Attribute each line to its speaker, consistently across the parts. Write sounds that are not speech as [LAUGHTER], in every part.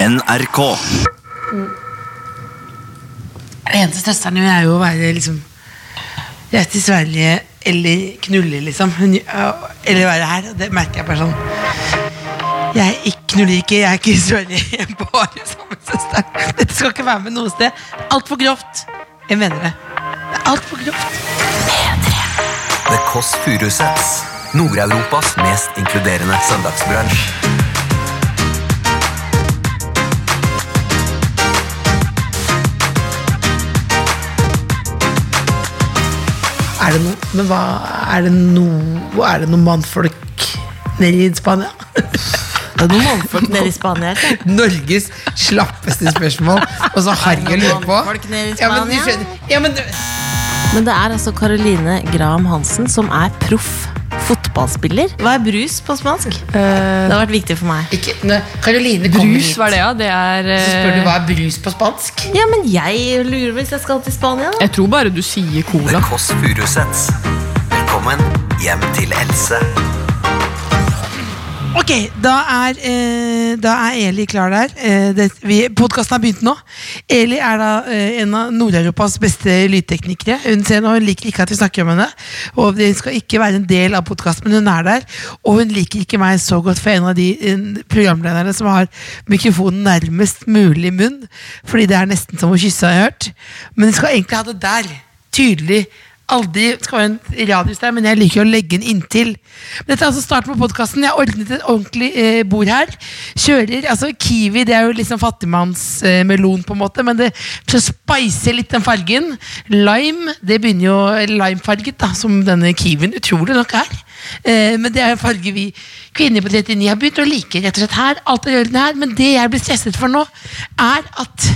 Speaker 1: NRK.
Speaker 2: Eneste stresseren min er jo å være liksom Reise til Sverige eller knulle, liksom. Hun, eller være her. Og det merker jeg bare sånn. Jeg ikk- knuller ikke, jeg er ikke i Sverige. [LAUGHS] Jeg er bare sammen med søsteren. Dette skal ikke være med noe sted. Altfor grovt. Jeg mener det. Det er altfor grovt.
Speaker 3: The Kåss Furuseths. Nord-Europas mest inkluderende søndagsbransj.
Speaker 2: Er det noe Men hva Er det noe Er det noe mannfolk nede i Spania? [LAUGHS]
Speaker 4: Det er noen mannfolk nede i Spania. ikke?
Speaker 2: Norges slappeste spørsmål. Og så har jeg lurer på
Speaker 4: Mannfolk nede i
Speaker 2: Ja, men du
Speaker 4: Spania?
Speaker 2: skjønner ja, men du,
Speaker 4: Men det er altså Caroline Graham Hansen som er proff fotballspiller. Hva er brus på spansk? det har vært viktig for meg.
Speaker 2: ikke, når Caroline kommer
Speaker 5: Brus,
Speaker 2: hit,
Speaker 5: hva er det, ja? Det er
Speaker 2: så spør du
Speaker 5: eh,
Speaker 2: hva er brus på spansk?
Speaker 4: Ja, men jeg lurer hvis jeg skal til Spania. da.
Speaker 5: Jeg tror bare du sier
Speaker 3: The
Speaker 5: cola.
Speaker 3: Kåss Furuseths. Velkommen hjem til Else.
Speaker 2: Ok, da er, eh, da er Eli klar der. Eh, det, vi, podkasten har begynt nå. Eli er da eh, en av Nord-Europas beste lydteknikere. Hun ser nå, hun liker ikke at vi snakker om henne, og det skal ikke være en del av podkasten, men hun er der. Og hun liker ikke meg så godt for en av de eh, programlederne som har mikrofonen nærmest mulig munn, fordi det er nesten som å kysse, har jeg hørt. Men hun skal egentlig ha det der. Tydelig aldri det skal være en radius der, men jeg liker å legge den inntil. Men dette er altså starten på podkasten. Jeg har ordnet et ordentlig eh, bord her. Kjører, altså Kiwi det er jo liksom fattigmannsmelon, eh, melon på en måte, men det så spicer litt den fargen. Lime det begynner jo limefarget, da, som denne kiwien utrolig nok er. Eh, men det er en farge vi kvinner på 39 har begynt å like. rett og slett her, alt er i orden her, Men det jeg blir stresset for nå, er at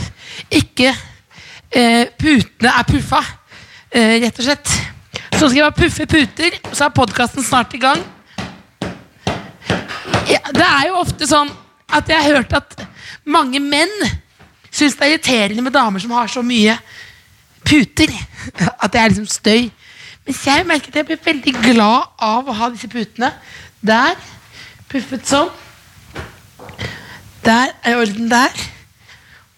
Speaker 2: ikke eh, putene er puffa. Eh, rett og slett. Så skal jeg bare puffe puter, så er podkasten snart i gang. Ja, det er jo ofte sånn at jeg har hørt at mange menn syns det er irriterende med damer som har så mye puter. [LAUGHS] At det er liksom støy. Mens jeg merket jeg ble veldig glad av å ha disse putene. Der. Puffet sånn. Der er i orden der.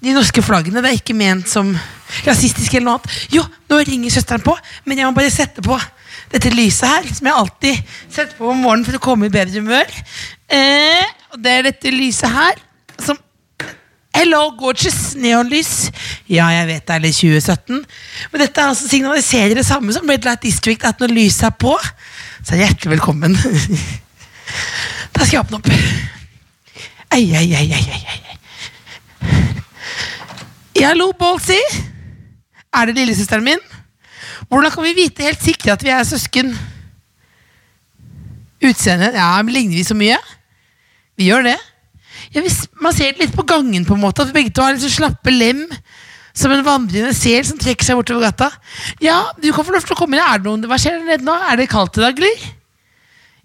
Speaker 2: De norske flaggene det er ikke ment som rasistiske eller noe annet. Jo, nå ringer søsteren på, men jeg må bare sette på dette lyset her, som jeg alltid setter på om morgenen for å komme i bedre humør. Eh, og det er dette lyset her som Hello, gorgeous neonlys. Ja, jeg vet det er litt 2017. Men dette er altså signaliserer det samme som Red Light District, at når lyset er på, så er hjertelig velkommen. [LAUGHS] da skal jeg åpne opp. Ei, ei, ei, ei, ei, ei. Ja, Hallo, Bolsi. Er det lillesøsteren min? Hvordan kan vi vite helt sikkert at vi er søsken? Utseendet? Ja, men ligner vi så mye? Vi gjør det. Ja, hvis man ser det litt på gangen, på en måte, at begge to har litt så slappe lem. Som en vandrende sel som trekker seg bortover gata. Ja, du kan få lov til å komme inn. Er det noen, hva skjer der nede nå? Er det kaldt i dag, eller?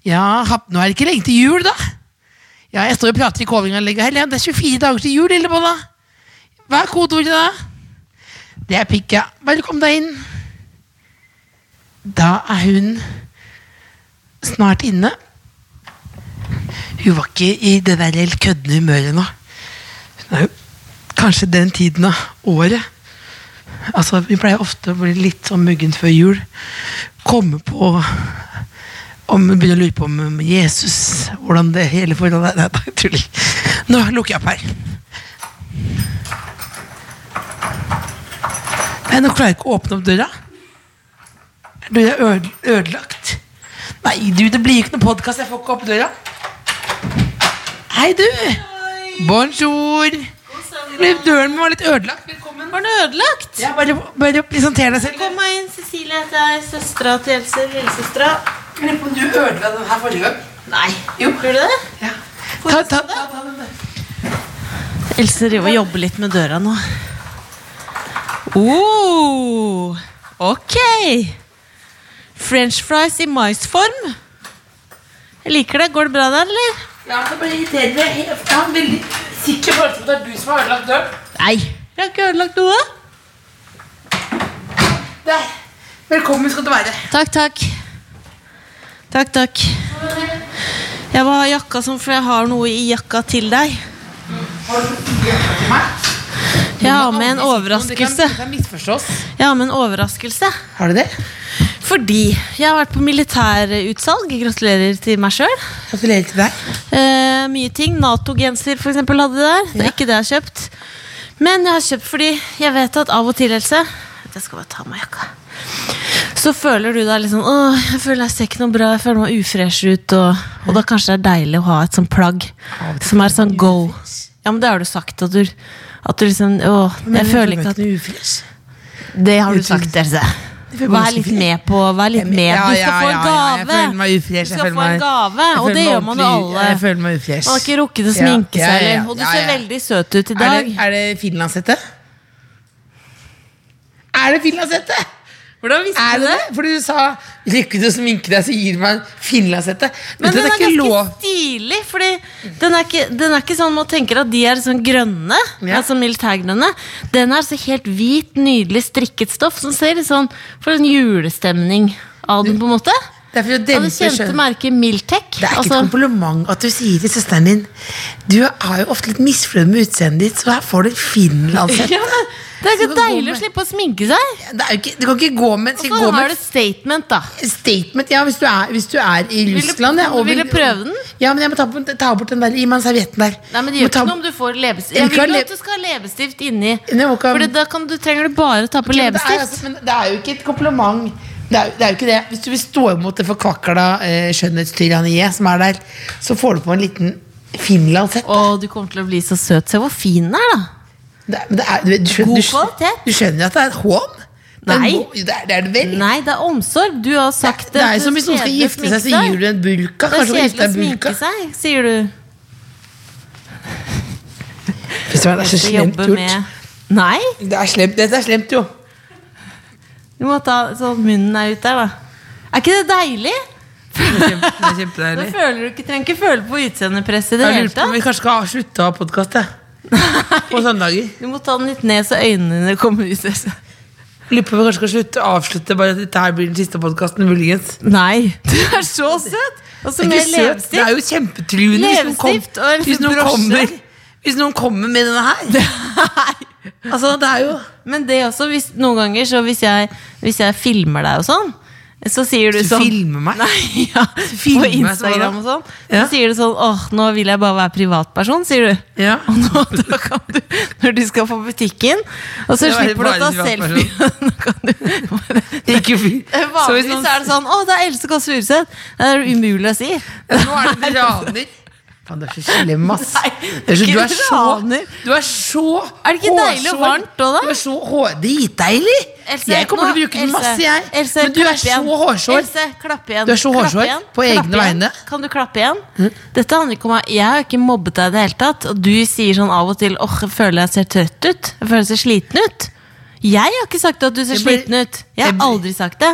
Speaker 2: Ja, hap- nå er det ikke lenge til jul, da. Ja, jeg står og prater i Kovinganlegget her. ja. Det er 24 dager til jul, Lillebolla. Hva er kodeordet, da? Det er pikk, ja. Bare kom deg inn. Da er hun snart inne. Hun var ikke i det der helt køddende humøret nå. Hun er jo kanskje den tiden av året. Altså, Vi pleier ofte å bli litt sånn muggent før jul. Komme på om hun begynner å lure på om Jesus Hvordan det hele forholdet er. Nei, da tuller jeg. Nå lukker jeg opp her. Nei, nå klarer jeg ikke å åpne opp døra. Døra er øde- ødelagt. Nei, du, det blir jo ikke noen podkast. Jeg får ikke opp døra. Hei, du. Bonjour. Men Døren min var litt ødelagt. Velkommen.
Speaker 4: Var den ødelagt?
Speaker 2: Ja, bare, bare presenter deg selv.
Speaker 4: Kom meg inn, Cecilie. Det er søstera til Else. Lillesøstera.
Speaker 2: Jeg lurer på om du ødela den her forrige gang.
Speaker 4: Nei. Gjorde du det?
Speaker 2: Ja. Ta, ta, ta, ta den der.
Speaker 4: Else driver og jobber litt med døra nå. Oh, ok. French fries i maisform. Jeg liker det. Går det bra der, eller?
Speaker 2: Ja, det bare irriterer meg. Jeg har en veldig sikker følelse på at det er du som har ødelagt døren.
Speaker 4: Nei. Jeg har ikke ødelagt noe.
Speaker 2: Der. Velkommen skal du være.
Speaker 4: Takk, takk. Takk, sånn, takk. Jeg må ha jakka som for jeg har noe i jakka til deg. Jeg har med en overraskelse.
Speaker 2: Det kan misforstås.
Speaker 4: Jeg har med en overraskelse.
Speaker 2: Har du det?
Speaker 4: Fordi jeg har vært på militærutsalg. Gratulerer til meg sjøl.
Speaker 2: Gratulerer til deg.
Speaker 4: Eh, mye ting. Nato-genser for eksempel hadde de der. Det er ikke det jeg har kjøpt. Men jeg har kjøpt fordi jeg vet at av og til, Else Jeg skal bare ta av meg jakka. Så føler du deg liksom Åh, jeg føler jeg ser ikke noe bra, jeg føler meg ufresh ut. Og, og da kanskje det er deilig å ha et sånt plagg som er sånn go. Ja, men det har du sagt. At du, at du liksom Åh, jeg føler ikke at Det har du sagt, Else.
Speaker 2: føler meg
Speaker 4: Vær
Speaker 2: ganske
Speaker 4: litt
Speaker 2: fri.
Speaker 4: med på Vær litt med.
Speaker 2: Ja,
Speaker 4: Du
Speaker 2: ja,
Speaker 4: skal få en
Speaker 2: ja, ja, jeg
Speaker 4: gave.
Speaker 2: føler meg ufresh,
Speaker 4: Du
Speaker 2: jeg
Speaker 4: skal
Speaker 2: føler
Speaker 4: få en
Speaker 2: meg-
Speaker 4: gave,
Speaker 2: jeg
Speaker 4: og
Speaker 2: føler
Speaker 4: det
Speaker 2: meg
Speaker 4: gjør man jo
Speaker 2: ordentlig-
Speaker 4: alle.
Speaker 2: Jeg føler meg ufresh.
Speaker 4: Man har ikke rukket å
Speaker 2: Ja,
Speaker 4: sminke
Speaker 2: ja,
Speaker 4: seg,
Speaker 2: ja,
Speaker 4: eller? Og du
Speaker 2: ja,
Speaker 4: ser
Speaker 2: ja.
Speaker 4: veldig søt ut i
Speaker 2: Er
Speaker 4: dag.
Speaker 2: det, er det finlandshette? Er det finlandshette?
Speaker 4: Hvordan visste
Speaker 2: Er
Speaker 4: du
Speaker 2: det
Speaker 4: det?
Speaker 2: det? Fordi du sa 'lykke til å sminke deg', så gir du meg finlandshette.
Speaker 4: Men
Speaker 2: Vet du, det
Speaker 4: den er
Speaker 2: er
Speaker 4: ganske
Speaker 2: ikke lov.
Speaker 4: stilig, fordi den er, ikke, den er ikke sånn man tenker at de er sånn grønne.
Speaker 2: Ja.
Speaker 4: Altså militærgrønne. Den er så helt hvit, nydelig strikket stoff som ser litt sånn For en julestemning av den, på en måte.
Speaker 2: Det er for å
Speaker 4: Av
Speaker 2: dempe
Speaker 4: det kjente
Speaker 2: skjønn-
Speaker 4: merket Miltec.
Speaker 2: Det er ikke
Speaker 4: Altså-
Speaker 2: et kompliment at du sier til søsteren din Du er jo ofte litt misfornøyd med utseendet ditt, så her får du en
Speaker 4: [LAUGHS]
Speaker 2: finlandshette.
Speaker 4: [LAUGHS] ja, men
Speaker 2: Så
Speaker 4: det er ikke
Speaker 2: du kan gå
Speaker 4: deilig å
Speaker 2: med-
Speaker 4: slippe å sminke seg.
Speaker 2: Det er jo ikke, du kan ikke gå med, skal
Speaker 4: Så
Speaker 2: gå
Speaker 4: har
Speaker 2: med
Speaker 4: du et statement, da.
Speaker 2: statement Ja, hvis du er, hvis du er i Russland ja, og
Speaker 4: vil du prøve den?
Speaker 2: Ja, men jeg må ta, på- ta bort den der Gi meg den servietten der
Speaker 4: Nei, men Det gjør
Speaker 2: Må ta-
Speaker 4: ikke noe om du får leppestift.
Speaker 2: Jeg
Speaker 4: Jeg
Speaker 2: vil ikke
Speaker 4: vil
Speaker 2: ha
Speaker 4: jo at du skal ha leppestift inni.
Speaker 2: Nei, må ikke ha-
Speaker 4: For da kan du, trenger du bare ta på
Speaker 2: Ok, men det er,
Speaker 4: leppestift.
Speaker 2: altså, men det er jo ikke et kompliment det er, jo- det er jo ikke det Hvis du vil stå imot det forkvakla eh, skjønnhetstyranniet som er der Så får du på en liten finlandshett
Speaker 4: Å, du kommer til å bli så søt. Se hvor fin den er, da.
Speaker 2: det, er- men det er, du, du, skjønner,
Speaker 4: God
Speaker 2: du, skjønner,
Speaker 4: kvalitet.
Speaker 2: du skjønner at det er et hån? Det er en
Speaker 4: Nei.
Speaker 2: hå- Det er det, er det vel
Speaker 4: Nei, det er omsorg. Du har
Speaker 2: det,
Speaker 4: sagt
Speaker 2: det er jo som hvis noen skal
Speaker 4: kjedelig å
Speaker 2: gifte seg Så
Speaker 4: sminke
Speaker 2: gir du en bulka
Speaker 4: Det er
Speaker 2: Kanskje du gifter
Speaker 4: kjedelig å
Speaker 2: deg en bulka
Speaker 4: sminke seg, sier du.
Speaker 2: Hvis det er så
Speaker 4: Så
Speaker 2: slemt
Speaker 4: jobbe
Speaker 2: gjort
Speaker 4: med Nei,
Speaker 2: Det er slemt, Dette er slemt jo
Speaker 4: du må ta sånn munnen er ute der, da. Er ikke det deilig?
Speaker 2: Det er
Speaker 4: Da
Speaker 2: kjempedeilig
Speaker 4: føler du ikke, trenger ikke føle på utseendepress i det
Speaker 2: Jeg
Speaker 4: hele
Speaker 2: lurer på om
Speaker 4: tatt.
Speaker 2: vi kanskje skal slutte å ha podkast på søndager.
Speaker 4: Du må ta den litt ned så øynene dine kommer ut. [LAUGHS] Else.
Speaker 2: Lurer på om vi kanskje skal slutte å avslutte bare at dette her blir den siste podkasten, muligens.
Speaker 4: Nei, du er så søt! Og så
Speaker 2: Det er
Speaker 4: med
Speaker 2: ikke søt, det
Speaker 4: leppestift.
Speaker 2: er jo kjempetruende hvis noen, kom,
Speaker 4: Leppestift og en
Speaker 2: hvis, noen
Speaker 4: brosje.
Speaker 2: kommer, hvis noen kommer med denne
Speaker 4: [LAUGHS]
Speaker 2: her. Altså, det er jo
Speaker 4: Men det også, hvis, noen ganger så hvis jeg, hvis jeg filmer deg og sånn, så sier du
Speaker 2: Du
Speaker 4: sånn
Speaker 2: filmer meg?
Speaker 4: Nei, [LAUGHS] ja, på
Speaker 2: filmer meg sånn,
Speaker 4: Instagram og sånn.
Speaker 2: Ja.
Speaker 4: Så sier du sånn åh, nå vil jeg bare være privatperson, sier du. [LAUGHS]
Speaker 2: Ja.
Speaker 4: Og nå, da kan du, når du skal på butikken, og så
Speaker 2: Det var
Speaker 4: slipper du å
Speaker 2: bare
Speaker 4: ta
Speaker 2: privatperson.
Speaker 4: selfie. [LAUGHS] Nå kan du
Speaker 2: Ikke fint. Så hvis
Speaker 4: [LAUGHS] Vanligvis
Speaker 2: noen,
Speaker 4: er det sånn åh, det er Else Kåss Furuseth! Det er umulig å si.
Speaker 2: nå er det raner. Faen, du er så slem, ass.
Speaker 4: Nei,
Speaker 2: Det er så, du, er
Speaker 4: ikke
Speaker 2: så,
Speaker 4: raner.
Speaker 2: du er så
Speaker 4: Er det ikke deilig og
Speaker 2: hårsår.
Speaker 4: varmt også, da?
Speaker 2: Du er så hår... Dritdeilig!
Speaker 4: Else,
Speaker 2: Jeg kommer til å
Speaker 4: nå-
Speaker 2: bruke den
Speaker 4: Else,
Speaker 2: masse, jeg.
Speaker 4: Else,
Speaker 2: Men du
Speaker 4: klapp
Speaker 2: er så
Speaker 4: igjen.
Speaker 2: hårsår.
Speaker 4: Else, klapp igjen.
Speaker 2: Du er så
Speaker 4: Klapp
Speaker 2: hårsår
Speaker 4: igjen.
Speaker 2: på
Speaker 4: Klapp
Speaker 2: egne
Speaker 4: igjen.
Speaker 2: vegne. Hm?
Speaker 4: Kan du klappe igjen? Dette handler ikke om at Jeg har ikke mobbet deg i det hele tatt. Og du sier sånn av og til åh, jeg føler jeg ser trøtt ut. Jeg føler jeg ser sliten ut. Jeg har ikke sagt at du ser
Speaker 2: Jeg blir-
Speaker 4: sliten ut. Jeg har
Speaker 2: jeg blir-
Speaker 4: aldri sagt det.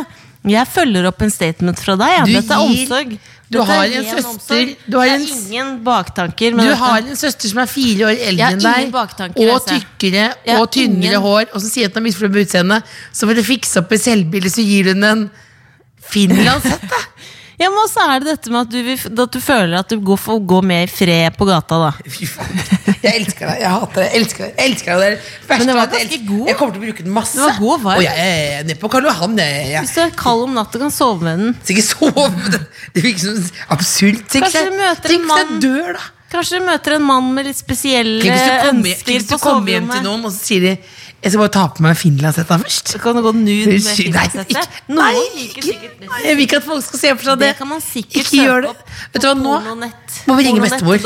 Speaker 4: Jeg følger opp en statement fra deg. Ja.
Speaker 2: Du
Speaker 4: Dette er
Speaker 2: gir-
Speaker 4: omsorg.
Speaker 2: du
Speaker 4: Dette er
Speaker 2: har en
Speaker 4: ren
Speaker 2: søster-
Speaker 4: omsorg.
Speaker 2: du har
Speaker 4: Det er
Speaker 2: en s-
Speaker 4: ingen baktanker. med
Speaker 2: Du
Speaker 4: dette.
Speaker 2: har en søster som er fire år eldre
Speaker 4: Jeg har
Speaker 2: enn
Speaker 4: ingen baktanker,
Speaker 2: deg, og
Speaker 4: Else.
Speaker 2: tykkere
Speaker 4: Jeg har
Speaker 2: og tynnere
Speaker 4: ingen-
Speaker 2: hår, og som sier at hun har misfornøyd med utseendet. Så for å fikse opp i selvbildet, så gir hun en
Speaker 4: [LAUGHS]
Speaker 2: finlandshette.
Speaker 4: Ja, men også er det dette med at du, vil, at du føler at du går, får gå mer i fred på gata, da.
Speaker 2: Fy faen. Jeg elsker deg, jeg hater deg, jeg elsker deg. Jeg elsker deg. Det er det verste
Speaker 4: Men den var
Speaker 2: at jeg
Speaker 4: ganske
Speaker 2: elsker-
Speaker 4: god.
Speaker 2: Jeg kommer til å bruke den masse.
Speaker 4: Den var god, var
Speaker 2: Og
Speaker 4: den?
Speaker 2: jeg jeg- jeg er nede på Karl Johan. Jeg, jeg,
Speaker 4: Hvis du er kald om natta, kan sove med den.
Speaker 2: Så ikke sove med det. Det virker som absurd. Tenk
Speaker 4: Kanskje
Speaker 2: seg-
Speaker 4: du møter en
Speaker 2: tenk seg
Speaker 4: mann.
Speaker 2: dør, da.
Speaker 4: Kanskje du møter en mann med litt spesielle
Speaker 2: Tenk hvis du kommer, tenk
Speaker 4: ønsker
Speaker 2: hvis du
Speaker 4: på
Speaker 2: kommer hjem til
Speaker 4: soverommet.
Speaker 2: noen, og så sier de 'Jeg skal bare ta på meg finlandshetta først'.
Speaker 4: Så kan du gå nude med
Speaker 2: Nei, ikke,
Speaker 4: finlandshette.
Speaker 2: nei,
Speaker 4: Noen liker
Speaker 2: ikke,
Speaker 4: sikkert
Speaker 2: nei, jeg vil ikke at folk skal se for seg det.
Speaker 4: Det kan man sikkert
Speaker 2: Ikke gjør det.
Speaker 4: søke opp
Speaker 2: Vet du hva, nå må vi ringe bestemor. Vi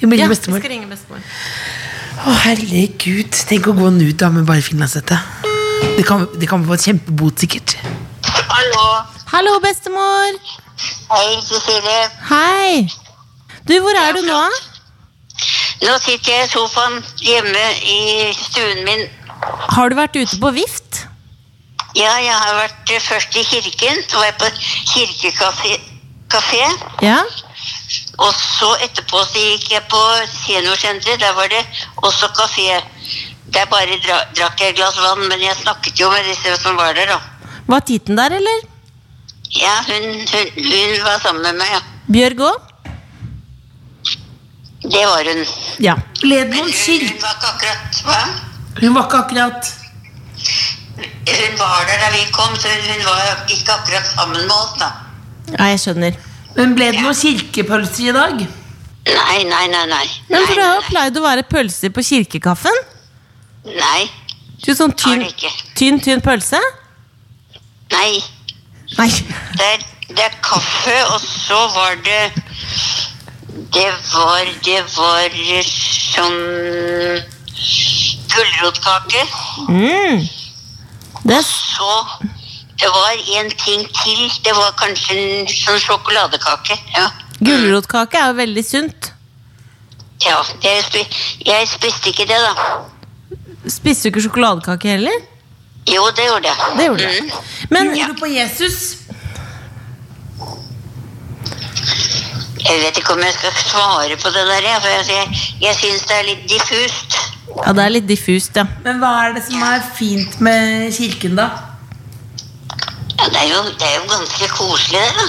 Speaker 4: Vi
Speaker 2: må ringe
Speaker 4: ja,
Speaker 2: bestemor.
Speaker 4: Vi skal ringe bestemor.
Speaker 2: Å, herregud. Tenk å gå nude da med bare finlandshette. Det kan, det kan få et kjempebot, sikkert.
Speaker 1: Hallo.
Speaker 4: Hallo, bestemor!
Speaker 1: Hei, Cecilie.
Speaker 4: Hei! Du, hvor er du nå?
Speaker 1: Nå sitter jeg i sofaen hjemme i stuen min.
Speaker 4: Har du vært ute på vift?
Speaker 1: Ja, jeg har vært eh, først i kirken. Så var jeg på kirkekafé. Kafé.
Speaker 4: Ja?
Speaker 1: Og så etterpå så gikk jeg på seniorsenteret. Der var det også kafé. Der bare dra, drakk jeg et glass vann, men jeg snakket jo med disse som var der, da.
Speaker 4: Var Titen der, eller?
Speaker 1: Ja, hun, hun, hun var sammen med meg, ja.
Speaker 4: Bjørg òg?
Speaker 1: Det var hun.
Speaker 6: Ja.
Speaker 2: Led
Speaker 1: Men
Speaker 2: noen
Speaker 1: hun,
Speaker 2: skilt.
Speaker 1: hun var ikke akkurat hva?
Speaker 2: Hun var ikke akkurat
Speaker 1: Hun var der da vi kom, så hun, hun var ikke akkurat sammenmålt, da.
Speaker 4: Nei, jeg skjønner.
Speaker 2: Men ble det noen kirkepølser i dag?
Speaker 1: Nei, nei, nei. nei.
Speaker 4: Men for
Speaker 1: Nei,
Speaker 4: det har jo
Speaker 1: nei,
Speaker 4: pleid å være pølser på kirkekaffen.
Speaker 1: nei. Nei.
Speaker 4: Ikke sånn tynn,
Speaker 1: Har det ikke.
Speaker 4: tynn, tynn pølse.
Speaker 1: nei.
Speaker 4: Nei.
Speaker 1: Det, er, det er kaffe, og så var det Det var Det var sånn Gulrotkake.
Speaker 4: Mm. Det,
Speaker 1: Så det var en ting til. Det var kanskje en sånn sjokoladekake. Ja.
Speaker 4: gulrotkake er jo veldig sunt.
Speaker 1: ja det, spi- jeg spiste ikke det, da.
Speaker 4: Spiste du ikke sjokoladekake heller?
Speaker 1: Jo, det gjorde jeg.
Speaker 4: Det gjorde jeg.
Speaker 1: Mm.
Speaker 4: Men
Speaker 2: Tror du på Jesus?
Speaker 1: Jeg vet ikke om jeg skal svare på det der, jeg, for jeg, jeg, jeg syns det er litt diffust.
Speaker 4: ja, det er litt diffust, ja.
Speaker 2: Men hva er det som er fint med kirken, da?
Speaker 1: Ja, det, er jo, det er jo ganske koselig, det, da.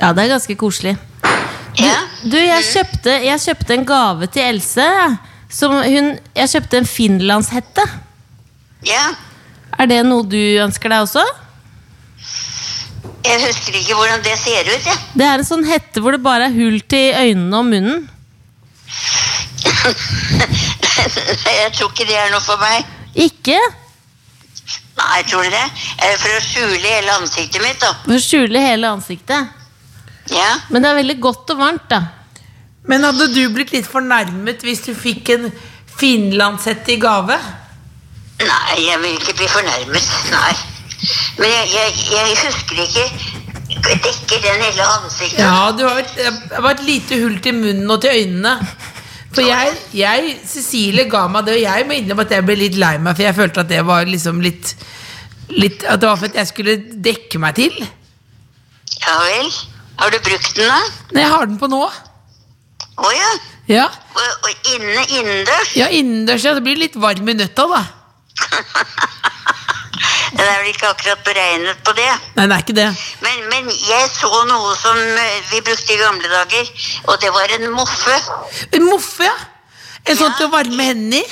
Speaker 4: Ja, det er ganske koselig.
Speaker 1: Ja.
Speaker 4: Du, jeg
Speaker 1: Mm.
Speaker 4: kjøpte, jeg kjøpte en gave til Else. jeg. Som hun, jeg kjøpte en finlandshette.
Speaker 1: ja.
Speaker 4: Er det noe du ønsker deg også?
Speaker 1: Jeg husker ikke hvordan det ser ut, jeg. [LAUGHS]
Speaker 4: Det er en sånn hette hvor det bare er hull til øynene og munnen.
Speaker 1: Nei, jeg tror ikke det er noe for meg.
Speaker 4: Ikke
Speaker 1: Nei, tror du det? Eh, For å skjule hele ansiktet mitt, da.
Speaker 4: for å skjule hele ansiktet.
Speaker 1: Ja.
Speaker 4: Men det er veldig godt og varmt, da.
Speaker 2: Men hadde du blitt litt fornærmet hvis du fikk en finlandshette i gave?
Speaker 1: Nei, jeg vil ikke bli fornærmet. Nei. Men jeg, jeg, jeg husker ikke Dekker den hele ansiktet?
Speaker 2: Ja, du har et- det var et lite hull til munnen og til øynene. For jeg, jeg, Cecilie ga meg det, og jeg må innrømme at jeg ble litt lei meg, for jeg følte at det var liksom litt, litt At det var for at jeg skulle dekke meg til.
Speaker 1: Ja vel? Har du brukt den, da?
Speaker 2: Men jeg har den på nå.
Speaker 1: Å ja.
Speaker 2: Ja,
Speaker 1: Og, og inne innendørs?
Speaker 2: ja innendørs, ja. Det blir litt varm i nøtta, da.
Speaker 1: Den er vel ikke akkurat beregnet på det.
Speaker 2: Nei, det er ikke det.
Speaker 1: Men, men jeg så noe som eh, vi brukte i gamle dager, og det var en moffe.
Speaker 2: En moffe, ja. En sånn til å varme hendene i.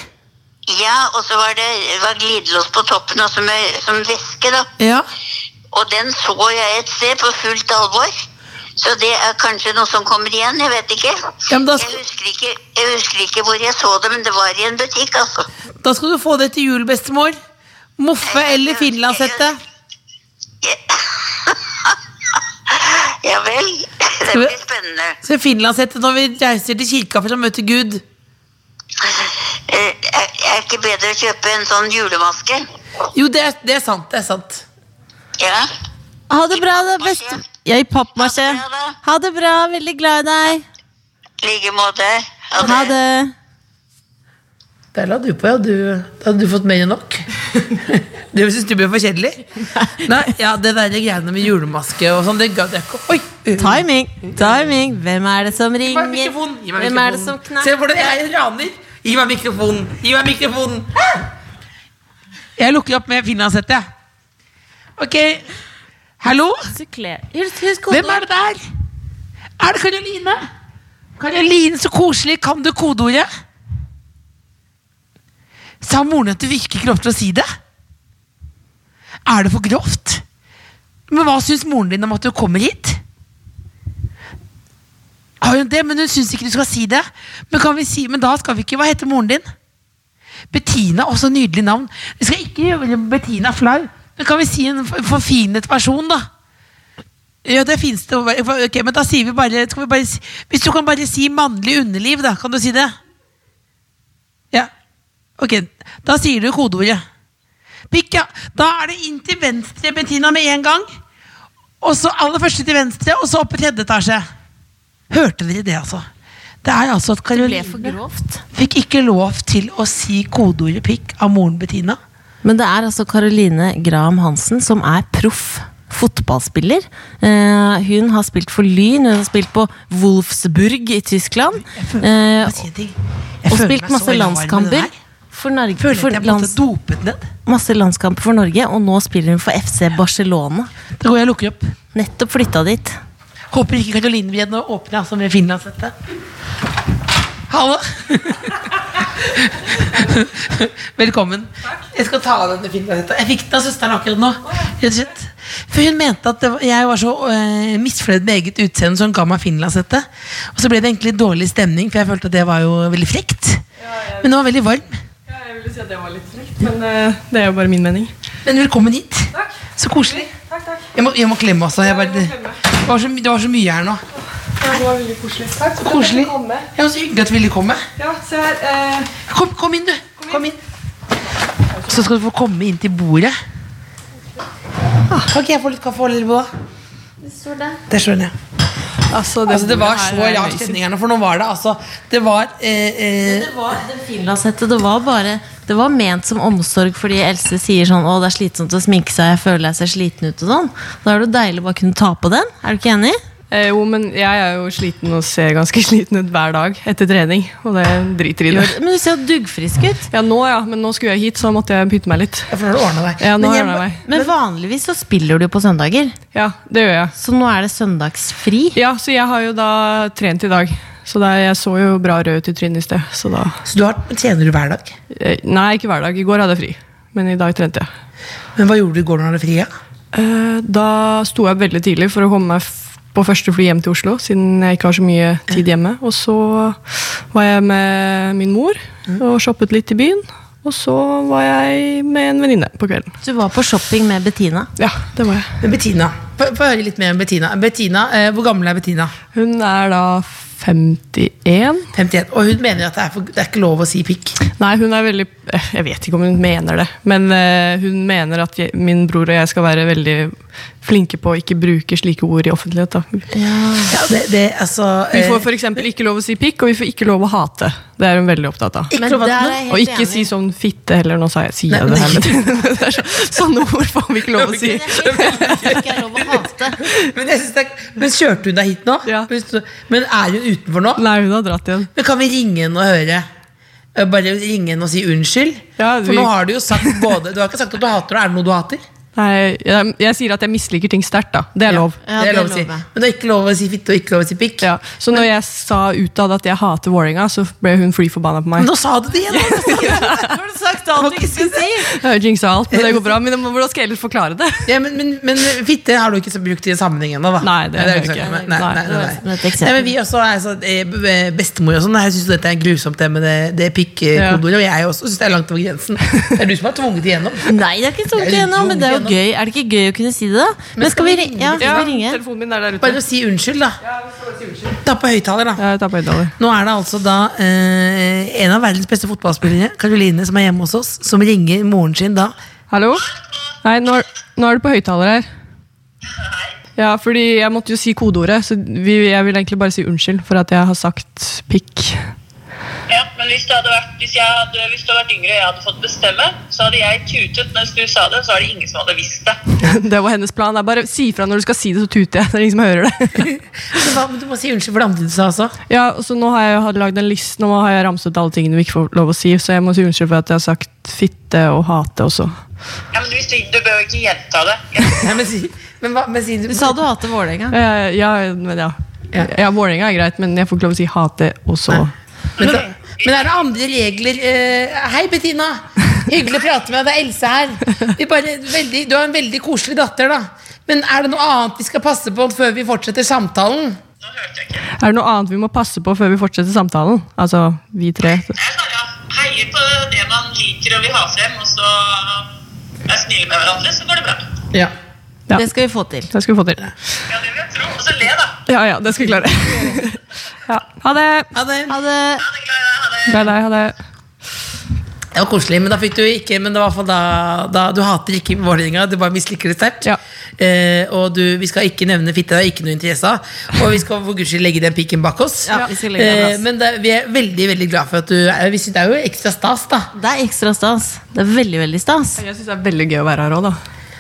Speaker 1: Ja, og så var det var glidelås på toppen, og som, eh, som væske, da.
Speaker 2: Ja.
Speaker 1: Og den så jeg et sted på fullt alvor. Så det er kanskje noe som kommer igjen, jeg vet ikke.
Speaker 2: Ja, men da-
Speaker 1: jeg, husker ikke jeg husker ikke hvor jeg så det, men det var i en butikk, altså.
Speaker 2: Da skal du få det til jul, bestemor. Moffe eller finlandshette.
Speaker 1: [LAUGHS] Ja vel. Det
Speaker 2: Skal vi-
Speaker 1: blir spennende.
Speaker 2: Så finlandshette når vi reiser til kirka for å møte Gud.
Speaker 1: Eh, Er er ikke bedre å kjøpe en sånn julemaske?
Speaker 2: Jo, det er, det er sant. det er sant
Speaker 1: Ja.
Speaker 4: Ha det bra, da, best... Ja, i pappmasje.
Speaker 1: Ha det bra, da.
Speaker 4: Ha det bra. Veldig glad i deg.
Speaker 1: I like måte.
Speaker 4: Ha det.
Speaker 2: Der la du på, ja. Du, da hadde du fått mer enn [LAUGHS] nok. du syns du ble for kjedelig? Nei, ja, Det der greiene med julemaske og sånn, det gadd jeg ikke. Oi!
Speaker 4: Timing. Timing. Hvem er det som
Speaker 2: Gi meg
Speaker 4: ringer?
Speaker 2: mikrofonen! Gi meg
Speaker 4: Hvem er det som
Speaker 2: mikrofonen. Se
Speaker 4: knakker?
Speaker 2: hvordan jeg raner! Gi meg mikrofonen! Gi meg mikrofonen! Jeg lukker opp med finlandshette. Ok. Hallo?
Speaker 4: Sykler. Husk, husk
Speaker 2: Hvem er det der? Er det Karoline? Karoline, så koselig. Kan du kodeordet? Sa moren at du virkelig ikke lov til å si det? Er det for grovt? Men hva syns moren din om at du kommer hit? Har hun det, men hun syns ikke du skal si det. Men, kan vi si, men da skal vi ikke Hva heter moren din? Bettina, også nydelig navn. Vi skal ikke gjøre Bettina flau. Men kan vi si en f- forfinet versjon, da? Ja, det finnes det. Ok, men da sier vi bare, skal vi bare si- Hvis du kan bare si mannlig underliv, da. Kan du si det? Ja. Ok, da sier du kodeordet. Pikk, ja. Da er det inn til venstre, Bettina, med en gang. Og så aller første til venstre, og så opp i tredje etasje. Hørte dere det, altså? Det er altså at
Speaker 4: ble
Speaker 2: Karoline
Speaker 4: for grovt.
Speaker 6: Fikk ikke lov til å si kodeordet pikk av moren Bettina.
Speaker 4: Men det er altså Caroline Graham Hansen som er proff fotballspiller. Eh, hun har spilt for Lyn, hun har spilt på Wolfsburg i Tyskland. Eh,
Speaker 6: Bare si en ting.
Speaker 4: og
Speaker 6: føler meg
Speaker 4: spilt
Speaker 6: så
Speaker 4: masse
Speaker 6: rar med det
Speaker 4: landskamper
Speaker 6: her.
Speaker 4: for Norge.
Speaker 6: Føler
Speaker 4: For
Speaker 6: at jeg på en
Speaker 4: lands,
Speaker 6: måte dopet ned.
Speaker 4: masse landskamper for Norge, og nå spiller hun for FC Barcelona.
Speaker 6: Da går jeg og lukker opp.
Speaker 4: Nettopp flytta dit.
Speaker 6: Håper ikke Karoline blir åpne altså med finlandshette.
Speaker 2: Hallo. Velkommen. Jeg skal ta av denne fingrene. Jeg fikk den av søsteren akkurat nå. Rett og slett. For hun mente at det var, jeg var så øh, misfornøyd med eget utseende, så hun ga meg finlandshette. Og så ble det egentlig dårlig stemning, for jeg følte at det var jo veldig frekt. Men det var veldig varm.
Speaker 5: Jeg ville si at det var litt frekt, men eh, det er jo bare min mening.
Speaker 2: Men velkommen hit. Så koselig. Jeg, må, jeg må klemme også. Jeg bare, det, var så, my- det var så mye her nå.
Speaker 5: Det var veldig koselig. Takk.
Speaker 2: Koselig. Ja, så hyggelig at du ville komme.
Speaker 5: Ja, se her. Eh,
Speaker 2: Kom, kom inn, du. Kom inn. Så skal du få komme inn til bordet. Ah, kan ikke jeg få litt kaffe og lille boa? Det skjønner jeg.
Speaker 5: altså,
Speaker 2: Altså, det var
Speaker 5: bordet
Speaker 2: så
Speaker 5: her er
Speaker 2: rar
Speaker 5: amazing.
Speaker 2: stemning her nå, for nå var det altså Det var eh, eh,
Speaker 4: Det var, det, finlandshette, det var bare Det var ment som omsorg fordi Else sier sånn Å, det er slitsomt å sminke seg, jeg føler jeg ser sliten ut og sånn. Da er det jo deilig å bare kunne ta på den. Er du ikke enig?
Speaker 5: Eh, jo, men jeg er jo sliten og ser ganske [LAUGHS] sliten ut hver dag etter trening. Og det driter i det.
Speaker 4: Men du ser jo duggfrisk ut.
Speaker 5: Ja, nå ja, men nå skulle jeg hit, så måtte jeg pynte meg litt.
Speaker 2: For nå har du ordna deg.
Speaker 5: Ja, nå
Speaker 2: Men jeg
Speaker 5: ordner
Speaker 2: må-
Speaker 5: jeg meg.
Speaker 4: Men vanligvis så spiller du jo på søndager,
Speaker 5: Ja, det gjør jeg.
Speaker 4: så nå er det søndagsfri.
Speaker 5: Ja, så jeg har jo da trent i dag. Så det, er- jeg så jo bra rød ut i trynet i sted. Så da
Speaker 2: Så du har, trener du hver dag?
Speaker 5: eh, Nei, ikke hver dag. I går hadde jeg fri. Men i dag trente jeg.
Speaker 2: Men hva gjorde du i går når du hadde fri? Ja?
Speaker 5: Eh, Da sto jeg opp veldig tidlig for å komme meg f- på første fly hjem til Oslo, siden jeg ikke har så mye tid hjemme. Og så var jeg med min mor og shoppet litt i byen. Og så var jeg med en venninne på kvelden.
Speaker 4: Du var på shopping med Bettina.
Speaker 5: Ja, det var jeg.
Speaker 2: Men Bettina. Få få høre litt mer om Bettina. Bettina, eh, Hvor gammel er Bettina?
Speaker 5: Hun er da 51.
Speaker 2: 51. Og hun mener at det er, for, det er ikke lov å si pikk.
Speaker 5: Nei, hun er veldig eh, Jeg vet ikke om hun mener det, men eh, hun mener at jeg, min bror og jeg skal være veldig flinke på å ikke bruke slike ord i offentlighet. Da.
Speaker 2: Ja, det, det, altså,
Speaker 5: Vi får
Speaker 2: eh,
Speaker 5: f.eks. ikke lov å si pikk, og vi får ikke lov å hate. Det er hun veldig opptatt av.
Speaker 2: ikke
Speaker 4: Men
Speaker 2: lov
Speaker 4: der
Speaker 2: at
Speaker 4: er jeg
Speaker 5: Og
Speaker 4: helt
Speaker 5: ikke
Speaker 4: enig.
Speaker 5: si sånn fitte heller. Nå sa jeg, sier
Speaker 2: Nei,
Speaker 5: jeg
Speaker 2: men
Speaker 5: det her, men [LAUGHS] det er så, sånne ord får vi ikke lov å si.
Speaker 4: Jeg er helt enig at det ikke er lov å hate.
Speaker 2: Men, jeg synes det, er- men kjørte hun deg hit nå?
Speaker 5: Ja.
Speaker 2: Men er hun utenfor nå?
Speaker 5: Nei, hun har dratt igjen.
Speaker 2: Men kan vi ringe henne og høre? Eh, Bare ringe henne og si unnskyld?
Speaker 5: Ja,
Speaker 2: For
Speaker 5: vi-
Speaker 2: nå har du jo sagt både Du har ikke sagt at du hater henne. Er det noe du hater?
Speaker 5: Nei, jeg, jeg sier at jeg misliker ting sterkt, da. Det er lov.
Speaker 4: Ja,
Speaker 2: det er lov å
Speaker 4: det
Speaker 2: si.
Speaker 4: lover jeg.
Speaker 2: Men det er ikke lov å si fitte og ikke lov å si pikk.
Speaker 5: Ja, så når jeg sa utad at jeg hater Vålerenga, så ble hun fly forbanna på meg.
Speaker 2: Nå sa du det igjen! altså. nå sa du det. Nå har du sagt alt du ikke skulle si.
Speaker 5: Jeg har jinxa alt, men det går bra. Men hvordan skal jeg ellers forklare det?
Speaker 2: Ja, men, men, men fitte har du ikke så brukt i en sammenheng ennå, da.
Speaker 5: Nei, det
Speaker 2: har du
Speaker 5: har jeg
Speaker 2: sagt,
Speaker 5: ikke.
Speaker 2: men- Nei,
Speaker 5: Nei,
Speaker 2: nei, nei,
Speaker 5: det
Speaker 4: var
Speaker 2: nei.
Speaker 4: som et eksempel.
Speaker 2: nei, men vi også er sånn, eh, b- b- Bestemor og sånn, jeg syns dette er grusomt, det med det, det pikkekodeordet. Og jeg også syns det er langt over grensen. Det er du som har tvunget igjennom.
Speaker 4: Nei, det er ikke tungt
Speaker 2: Det er
Speaker 4: igjennom, men det er jo
Speaker 2: tungt
Speaker 4: gøy. Er det ikke gøy å kunne si det, da? Men skal vi ringe? Ja, skal vi ringe?
Speaker 5: telefonen min er der
Speaker 2: Bare å si unnskyld, da. Ta på høyttaler, da.
Speaker 5: Ja, jeg tar på høyttaler.
Speaker 2: Nå er det altså da eh, en av verdens beste fotballspillere, Karoline, som er hjemme hos oss, som ringer moren sin da.
Speaker 5: Hallo? Nei, nå, nå er det på høyttaler her. Ja, fordi jeg måtte jo si kodeordet, så vi, jeg vil egentlig bare si unnskyld for at jeg har sagt pikk.
Speaker 7: Ja, men hvis, det hadde vært, hvis, jeg hadde, hvis du hadde vært yngre og jeg hadde fått bestemme, så hadde jeg tutet mens du sa det, så er det ingen som hadde visst det.
Speaker 5: [LAUGHS] Det var hennes plan. Det er bare Si ifra når du skal si det, så tuter jeg. Det er ingen som hører [LAUGHS] det.
Speaker 2: Så da, men du må si unnskyld for det andre du sa også.
Speaker 5: Ja, og så Nå har jeg jo lagd en liste, nå har jeg ramset alle tingene vi ikke får lov å si, så jeg må si unnskyld for at jeg har sagt fitte og hate også.
Speaker 7: Ja, men hvis du, du bør jo ikke gjenta det.
Speaker 2: Nei, men si, men, hva, men si
Speaker 4: Du sa du hater Vålerenga.
Speaker 5: Eh, ja, men ja.
Speaker 2: Ja.
Speaker 5: Ja, Vålerenga er greit, men jeg får ikke lov å si hate også.
Speaker 2: Men, da, men er det andre regler eh, Hei, Bettina! Hyggelig å prate med deg. Det er Else her. Vi bare, veldig, du har en veldig koselig datter, da. Men er det noe annet vi skal passe på før vi fortsetter samtalen?
Speaker 7: Nå hørte jeg ikke.
Speaker 5: Er det noe annet vi må passe på før vi fortsetter samtalen? Altså, vi tre.
Speaker 7: Jeg bare heier på det man liker og vil ha frem, og så er snille med hverandre, så går det bra.
Speaker 2: Ja.
Speaker 5: Ja.
Speaker 4: Det skal vi få til.
Speaker 5: Det skal vi få til.
Speaker 7: Ja, det vil jeg tro. Og så le, da.
Speaker 5: Ja, ja, det skal vi klare. [LAUGHS] ja. Ha det!
Speaker 2: Ja, det,
Speaker 4: Ha det.
Speaker 7: Ha det, Klara. Ha det.
Speaker 5: Glad i deg, ha det.
Speaker 2: det var koselig, men da fikk du ikke Men det var i hvert fall da, da Du hater ikke Vålerenga, du bare misliker det sterkt.
Speaker 5: Ja.
Speaker 2: Eh, og du, vi skal ikke nevne fitte, det er ikke noe interesse av. Og vi skal for guds skyld legge den pikken bak oss.
Speaker 4: Ja, vi skal legge den bak oss.
Speaker 2: Eh, men det, vi er veldig veldig glad for at du er vi synes Det er jo ekstra stas, da.
Speaker 4: Det er ekstra stas. Det er veldig, veldig stas.
Speaker 5: Jeg syns det er veldig gøy å være her òg, da.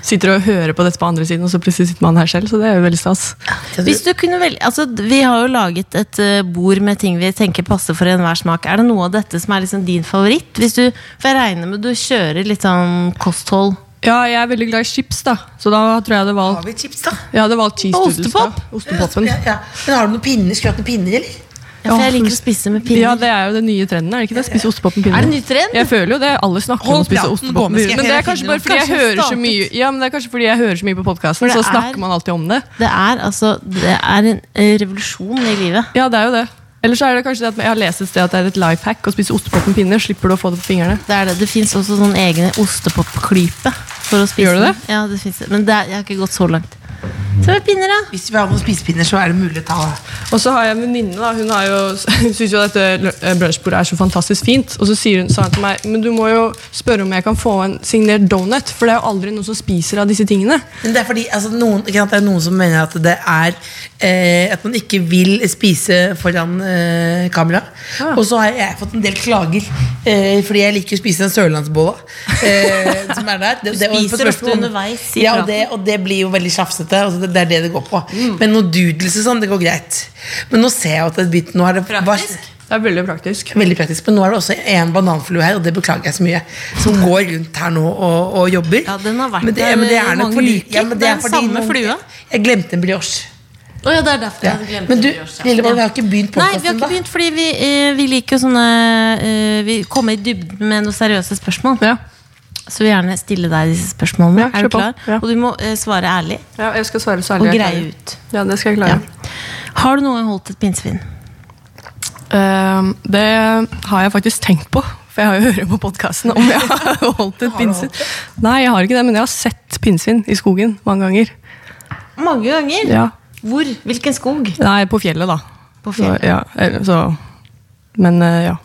Speaker 5: Sitter og hører på dette på andre siden, og så plutselig sitter man her selv, så det er jo veldig stas.
Speaker 4: Hvis du kunne velge, altså d- Vi har jo laget et eh, bord med ting vi tenker passer for enhver smak. Er det noe av dette som er liksom din favoritt? Hvis du, for jeg regner med du kjører litt sånn kosthold.
Speaker 5: Ja, jeg er veldig glad i chips, da, så da tror jeg jeg hadde
Speaker 2: Har
Speaker 5: valgt
Speaker 2: vi chips, da?
Speaker 5: jeg hadde valgt cheese
Speaker 4: Og
Speaker 5: doodles. da. Ostepopen.
Speaker 2: Ja, ja. Men har du noen pinner? Skulle du hatt noen pinner, eller?
Speaker 4: Ja, for jeg liker å spise med pinner.
Speaker 5: Ja, det er jo den nye trenden, er det ikke det? Spise ostepop med pinner.
Speaker 4: Er det ny trend?
Speaker 5: Jeg føler jo det. Alle snakker om å
Speaker 2: Hold
Speaker 5: spise
Speaker 2: praten
Speaker 5: ostepop
Speaker 2: gående,
Speaker 5: med
Speaker 2: skal jeg
Speaker 5: pinner. Men det
Speaker 2: finne
Speaker 5: er kanskje
Speaker 2: den.
Speaker 5: bare fordi jeg
Speaker 4: Kanskje den
Speaker 5: hører så
Speaker 4: startet.
Speaker 5: mye Ja, men det er kanskje fordi jeg hører så mye på
Speaker 4: For
Speaker 5: podkasten,
Speaker 4: det
Speaker 5: så
Speaker 4: er-
Speaker 5: snakker man alltid om det.
Speaker 4: Det er altså Det er en eh, revolusjon i livet.
Speaker 5: Ja, det er jo det. Eller så er det kanskje det at jeg har lest et sted at det er et life hack å spise ostepop med pinner. Slipper du å få det på fingrene.
Speaker 4: Det er det. Det fins også sånne egne ostepopklype for å spise.
Speaker 5: Gjør det det?
Speaker 4: den. Ja, det finnes det. Men det er, jeg har ikke gått så langt. Så med pinner, da.
Speaker 2: Hvis vi har noen spisepinner, så er det mulig å ta
Speaker 5: Og så har jeg en venninne, da. Hun, har jo, [LAUGHS] hun syns jo dette lø- eh, brunsjbordet er så fantastisk fint. Og så sier hun, sa hun til meg men du må jo spørre om jeg kan få en signert donut, for det er jo aldri noen som spiser av disse tingene.
Speaker 2: Men det er fordi altså, noen, ikke sant, det er noen som mener at det er eh, At man ikke vil spise foran eh, kamera. Og så har jeg fått en del klager, eh, fordi jeg liker å spise den sørlandsbolla. Eh, [LAUGHS] som er der. Det, det, og
Speaker 4: spiser
Speaker 2: på spørsmål
Speaker 4: ofte
Speaker 2: om-
Speaker 4: underveis i
Speaker 2: Ja, og det, og det blir jo veldig sjafsete. Altså, det, det er det det går på. Men noe doodles og sånn, det går greit. Men nå ser jeg at det begynte nå er det,
Speaker 4: Praktisk.
Speaker 5: Det er veldig praktisk.
Speaker 2: Veldig praktisk, men nå er det også en bananflue her, og det beklager jeg så mye, som går rundt her nå og, og jobber.
Speaker 4: Ja, den har vært
Speaker 2: Men det-
Speaker 4: der
Speaker 2: men det er
Speaker 4: i
Speaker 2: nok
Speaker 4: mange
Speaker 2: fordi-
Speaker 4: uker.
Speaker 2: ja, men
Speaker 4: Det er
Speaker 2: er
Speaker 4: den
Speaker 2: fordi
Speaker 4: samme
Speaker 2: noen-
Speaker 4: flua.
Speaker 2: Jeg glemte en brioche.
Speaker 4: Å ja, det er derfor
Speaker 2: Ja. Men du, Lillemann, vi har ikke begynt
Speaker 4: Nei, vi har
Speaker 2: podkasten,
Speaker 4: ikke
Speaker 2: da.
Speaker 4: begynt, fordi vi, eh, vi liker jo sånne eh, Vi kommer i dybden med noen seriøse spørsmål.
Speaker 5: Ja.
Speaker 4: Så vil gjerne stille deg disse spørsmålene.
Speaker 5: Ja,
Speaker 4: er
Speaker 5: kjør
Speaker 4: du klar?
Speaker 5: på. Ja.
Speaker 4: Og du må eh, svare ærlig
Speaker 5: Ja, jeg skal svare så
Speaker 4: og
Speaker 5: ærlig jeg
Speaker 4: greie
Speaker 5: klarer.
Speaker 4: ut.
Speaker 5: Ja, det skal jeg klare.
Speaker 4: Ja. Har du noen gang holdt et pinnsvin?
Speaker 5: Ehm, det har jeg faktisk tenkt på, for jeg har jo [LAUGHS] hørt på podkasten om jeg har holdt et pinnsvin. Nei, jeg har ikke det, men jeg har sett pinnsvin i skogen mange ganger.
Speaker 4: Mange ganger.
Speaker 5: Ja.
Speaker 4: Hvor? Hvilken skog?
Speaker 5: Nei, på fjellet, da.
Speaker 4: På fjellet.
Speaker 5: Så, ja, eller så Men eh, ja.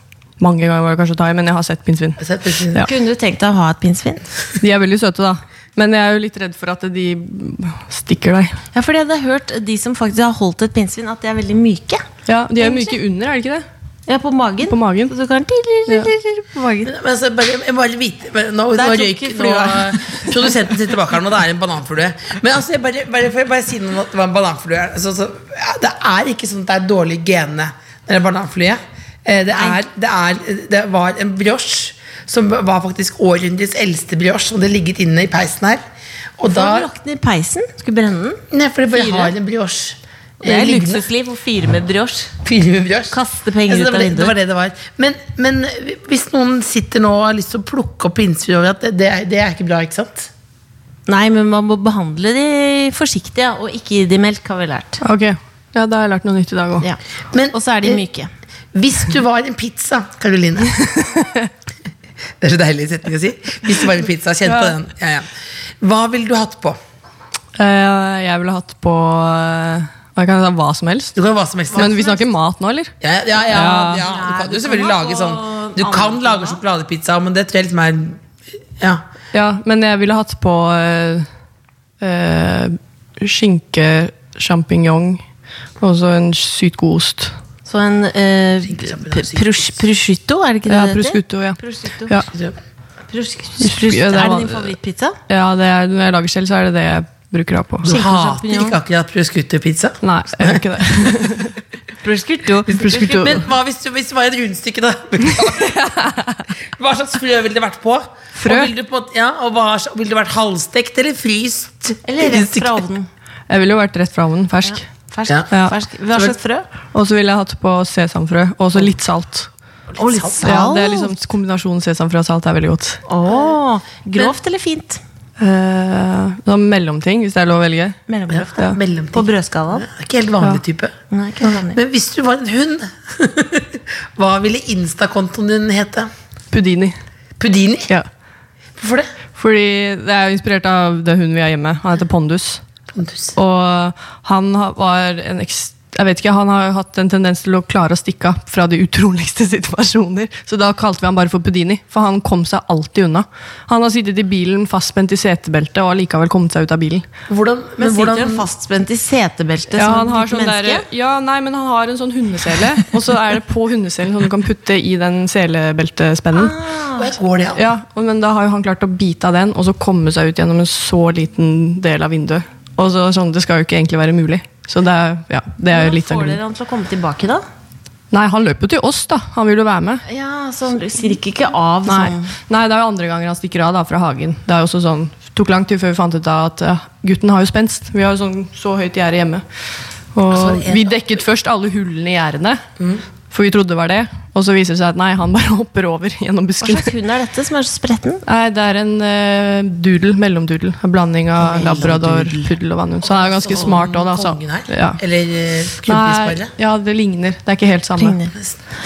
Speaker 5: Mange ganger var det kanskje å ta i, men jeg har sett pinnsvin.
Speaker 2: Jeg har sett pinnsvin.
Speaker 5: Ja.
Speaker 4: Kunne du tenkt deg å ha et pinnsvin?
Speaker 5: De er veldig søte, da. Men jeg er jo litt redd for at de stikker deg.
Speaker 4: Ja, fordi jeg hadde hørt de som faktisk har holdt et pinnsvin, at de er veldig myke.
Speaker 5: Ja, De er jo myke
Speaker 4: Egentlig.
Speaker 5: under, er de ikke det?
Speaker 4: Ja, på magen.
Speaker 5: På magen.
Speaker 4: Så du kan på magen.
Speaker 2: Men altså, bare, jeg må bare vite men Nå,
Speaker 4: Der
Speaker 2: nå
Speaker 4: tok
Speaker 2: røyk
Speaker 4: ikke
Speaker 2: nå,
Speaker 4: flua.
Speaker 2: Produsenten sitter bak her nå, det er en bananflue. Men altså, jeg bare, bare, får jeg bare si noe om at det var en bananflue her? altså, så, ja, Det er ikke sånn at det er dårlig gene når det er bananflue. Eh, Det, er, det, er, det var en brioche som var faktisk århundrets eldste brioche, som hadde ligget inne i peisen her. Og
Speaker 4: Da
Speaker 2: da
Speaker 4: lagt den i peisen. Skulle brenne den.
Speaker 2: Nei, for det bare
Speaker 4: Fire.
Speaker 2: har en brioche.
Speaker 4: Det
Speaker 2: eh,
Speaker 4: er
Speaker 2: liggende.
Speaker 4: luksusliv å fyre med brioche.
Speaker 2: Fyre med brioche.
Speaker 4: Kaste penger
Speaker 2: det
Speaker 4: ut av
Speaker 2: var det-
Speaker 4: vinduet.
Speaker 2: Det var det det var. Men, men hvis noen sitter nå og har lyst til å plukke opp pinnsvin over at det, det, er, det er ikke bra, ikke sant?
Speaker 4: Nei, men man må behandle de forsiktig, ja, og ikke gi de melk, har vi lært.
Speaker 5: Ok, Ja, da har jeg lært noe nytt i dag òg.
Speaker 4: Ja.
Speaker 2: Men-
Speaker 4: Og så er
Speaker 5: eh,
Speaker 4: de myke.
Speaker 2: Hvis du var en pizza, Karoline Det er så deilig setning å si. Hvis du var en pizza, kjenn på den. Ja, ja. Hva ville du hatt på?
Speaker 5: jeg ville hatt på eh, Jeg kan ta hva som helst.
Speaker 2: Du kan ha hva som helst.
Speaker 5: Men vi snakker mat nå, eller?
Speaker 2: ja, ja, ja,
Speaker 5: Ja.
Speaker 2: ja. Du kan jo selvfølgelig
Speaker 4: ha
Speaker 2: lage
Speaker 4: på
Speaker 2: sånn Du kan
Speaker 4: andre
Speaker 2: lage sjokoladepizza, men det tror jeg liksom er Ja.
Speaker 5: Ja, men jeg ville hatt på eh, eh, skinke, sjampinjong og så en sykt god ost.
Speaker 4: Så en eh,
Speaker 2: Skinkesjampinjong,
Speaker 4: pr- prus- prosciutto, er det ikke det
Speaker 5: Ja,
Speaker 4: det
Speaker 5: prosciutto, ja.
Speaker 4: Prosciutto.
Speaker 5: Ja.
Speaker 4: Prosci-
Speaker 5: Ja,
Speaker 4: prosciutto.
Speaker 5: det
Speaker 4: Er
Speaker 5: var-
Speaker 4: det din favorittpizza?
Speaker 5: ja det er, når jeg lager selv, så er det det jeg bruker av på.
Speaker 2: Du
Speaker 4: Skinke og
Speaker 2: hater
Speaker 4: champignon.
Speaker 2: ikke akkurat prosciutto-pizza?
Speaker 5: Nei, jeg gjør ikke
Speaker 4: [LAUGHS]
Speaker 5: det.
Speaker 4: Prosciutto.
Speaker 5: Prosciutto.
Speaker 2: Men hva hvis, du, hvis det var et rundstykke, da? [LAUGHS] Hva slags frø ville det vært på?
Speaker 5: Frø?
Speaker 2: Og ville det, på, ja, og hva, slags- ville det vært halvstekt eller fryst?
Speaker 4: Eller rett fra ovnen.
Speaker 5: Jeg ville jo vært rett fra ovnen, fersk.
Speaker 4: Fersk.
Speaker 2: Ja.
Speaker 5: Ja.
Speaker 4: Fersk. Hva slags frø?
Speaker 5: Og så ville jeg hatt på sesamfrø, og så litt salt.
Speaker 4: Og litt salt.
Speaker 5: Ja, det er liksom Kombinasjonen sesamfrø og salt er veldig godt.
Speaker 4: Åh, grovt eller fint?
Speaker 5: Eh, Noen mellomting, hvis det er lov å velge.
Speaker 4: Mellomgrovt.
Speaker 5: Ja.
Speaker 4: På
Speaker 2: Mellomting.
Speaker 4: brødskalaen?
Speaker 2: Det er [LAUGHS] Ikke helt vanlig type.
Speaker 4: Nei, ikke noe vanlig.
Speaker 2: Men hvis du var en hund, [LAUGHS] hva ville Insta-kontoen din hete?
Speaker 5: Pudini.
Speaker 2: Pudini?
Speaker 5: Ja.
Speaker 2: Hvorfor det?
Speaker 5: Fordi det er jo inspirert av det hunden vi har hjemme. Han heter Pondus.
Speaker 2: Pontus.
Speaker 5: Og han har- var en ekst jeg vet ikke, Han har jo hatt en tendens til å klare å stikke av fra de utroligste [LAUGHS] situasjoner. Så da kalte vi han bare for Pudini, for han kom seg alltid unna. Han har sittet i bilen fastspent i setebeltet og har likevel kommet seg ut av bilen.
Speaker 2: Hvordan, men
Speaker 4: Men sitter
Speaker 2: hvordan
Speaker 4: han fastspent i setebeltet
Speaker 5: Ja,
Speaker 4: som
Speaker 5: han
Speaker 4: et
Speaker 5: har
Speaker 4: lite
Speaker 5: sånn
Speaker 4: menneske?
Speaker 5: der, ja, nei, men han har en sånn hundesele, og så er det på hundeselen som du kan putte i den selebeltespennen.
Speaker 4: Ah.
Speaker 2: går det an?
Speaker 5: Ja, og- men da har jo han klart å bite av den, og så komme seg ut gjennom en så liten del av vinduet. Og så sånn, Det skal jo ikke egentlig være mulig. Så det er, ja, det er jo
Speaker 4: Hvordan
Speaker 5: litt sånn- av
Speaker 4: får
Speaker 5: grunnen.
Speaker 4: dere han til å komme tilbake, da?
Speaker 5: Nei, han løper jo til oss, da. Han vil jo være med.
Speaker 4: Ja, så han sirker ikke av
Speaker 5: Nei.
Speaker 4: sånn.
Speaker 5: Nei, det er jo andre ganger han stikker av da, fra hagen. Det er jo også sånn, tok lang tid før vi fant ut av at ja, gutten har jo spenst. Vi har jo sånn så høyt gjerde hjemme. Og vi dekket først alle hullene i gjerdene, for vi trodde det var det. Og så viser det seg at nei, han bare [LAUGHS] hopper over gjennom
Speaker 4: Hva
Speaker 5: buskene.
Speaker 4: slags hund er dette som er så spretten?
Speaker 5: Nei, det er en eh, doodle, mellomdoodle. En blanding av labrador, puddel og vannhund. Så han er jo ganske smart òg, da. Så.
Speaker 2: Kongen her?
Speaker 5: Ja.
Speaker 2: Eller eh,
Speaker 5: Nei,
Speaker 2: klubbespeilet?
Speaker 5: ja, det ligner. Det er ikke helt samme.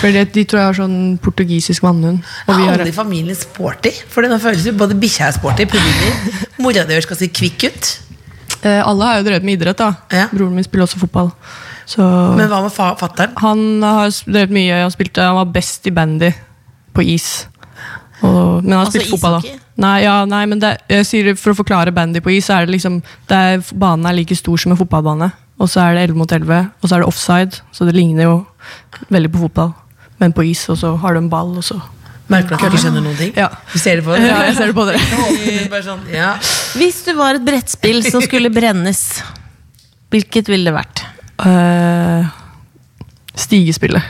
Speaker 5: For det- de tror jeg har sånn portugisisk vannhund. Og
Speaker 2: Er
Speaker 5: vi har
Speaker 2: alle i familien sporty? For det nå føles jo både bikkja er sporty,
Speaker 5: [LAUGHS]
Speaker 2: puddinger Mora di høres ganske kvikk ut.
Speaker 5: Eh, alle har jo drevet med idrett, da.
Speaker 2: Ja.
Speaker 5: Broren min spiller også fotball. Så
Speaker 2: Men hva med fa fatteren?
Speaker 5: han har s- drevet mye. Han, spilte, han var best i bandy på is. Og, men han har
Speaker 4: Altså
Speaker 5: spilt fotball, da.
Speaker 4: ishockey?
Speaker 5: Nei, ja, nei, men det, jeg sier, for å forklare bandy på is, så er det liksom det er, Banen er like stor som en fotballbane. Og så er det 11 mot 11, og så er det offside, så det ligner jo veldig på fotball. Men på is, og så har du en ball, og så
Speaker 2: Merker du at du ikke skjønner noen ting?
Speaker 5: Ja.
Speaker 2: Du ser det på
Speaker 5: Ja, jeg ser det på dere.
Speaker 2: deg. [LAUGHS] Bare sånn, ja.
Speaker 4: Hvis du var et brettspill som skulle brennes, hvilket ville det vært?
Speaker 5: Eh, stigespillet.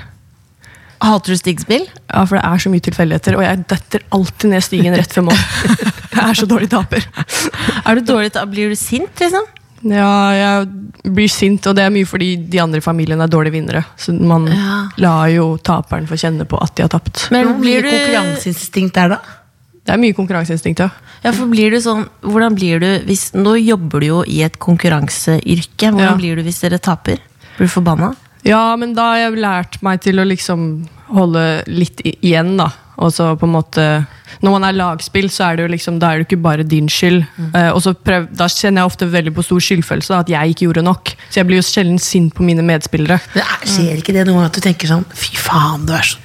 Speaker 4: Hater du stigspill?
Speaker 5: Ja, for det er så mye tilfeldigheter, og jeg detter alltid ned stigen rett før mål. Jeg er så dårlig taper.
Speaker 4: Er du dårlig til Blir du sint, liksom?
Speaker 5: [LAUGHS] Ja, jeg blir sint, og det er mye fordi de andre i familien er dårlige vinnere. Så man
Speaker 4: Ja.
Speaker 5: lar jo taperen få kjenne på at de har tapt.
Speaker 4: Men
Speaker 2: Hvor mye
Speaker 4: blir du,
Speaker 2: konkurranseinstinkt er det?
Speaker 5: Det er mye konkurranseinstinkt, ja.
Speaker 4: ja, for blir du sånn Hvordan blir du hvis Nå jobber du jo i et konkurranseyrke. Hvordan
Speaker 5: Ja.
Speaker 4: blir du hvis dere taper? Blir du forbanna?
Speaker 5: Ja, men da har jeg lært meg til å liksom holde litt i- igjen, da. Og så på en måte Når man er lagspill, så er det jo liksom, da er det ikke bare din skyld. Eh, og så prøv, Da kjenner jeg ofte veldig på stor skyldfølelse, da, at jeg ikke gjorde nok. Så jeg blir jo sjelden sint på mine medspillere.
Speaker 2: Men er- Skjer ikke det noen gang at du tenker sånn Fy faen, du er så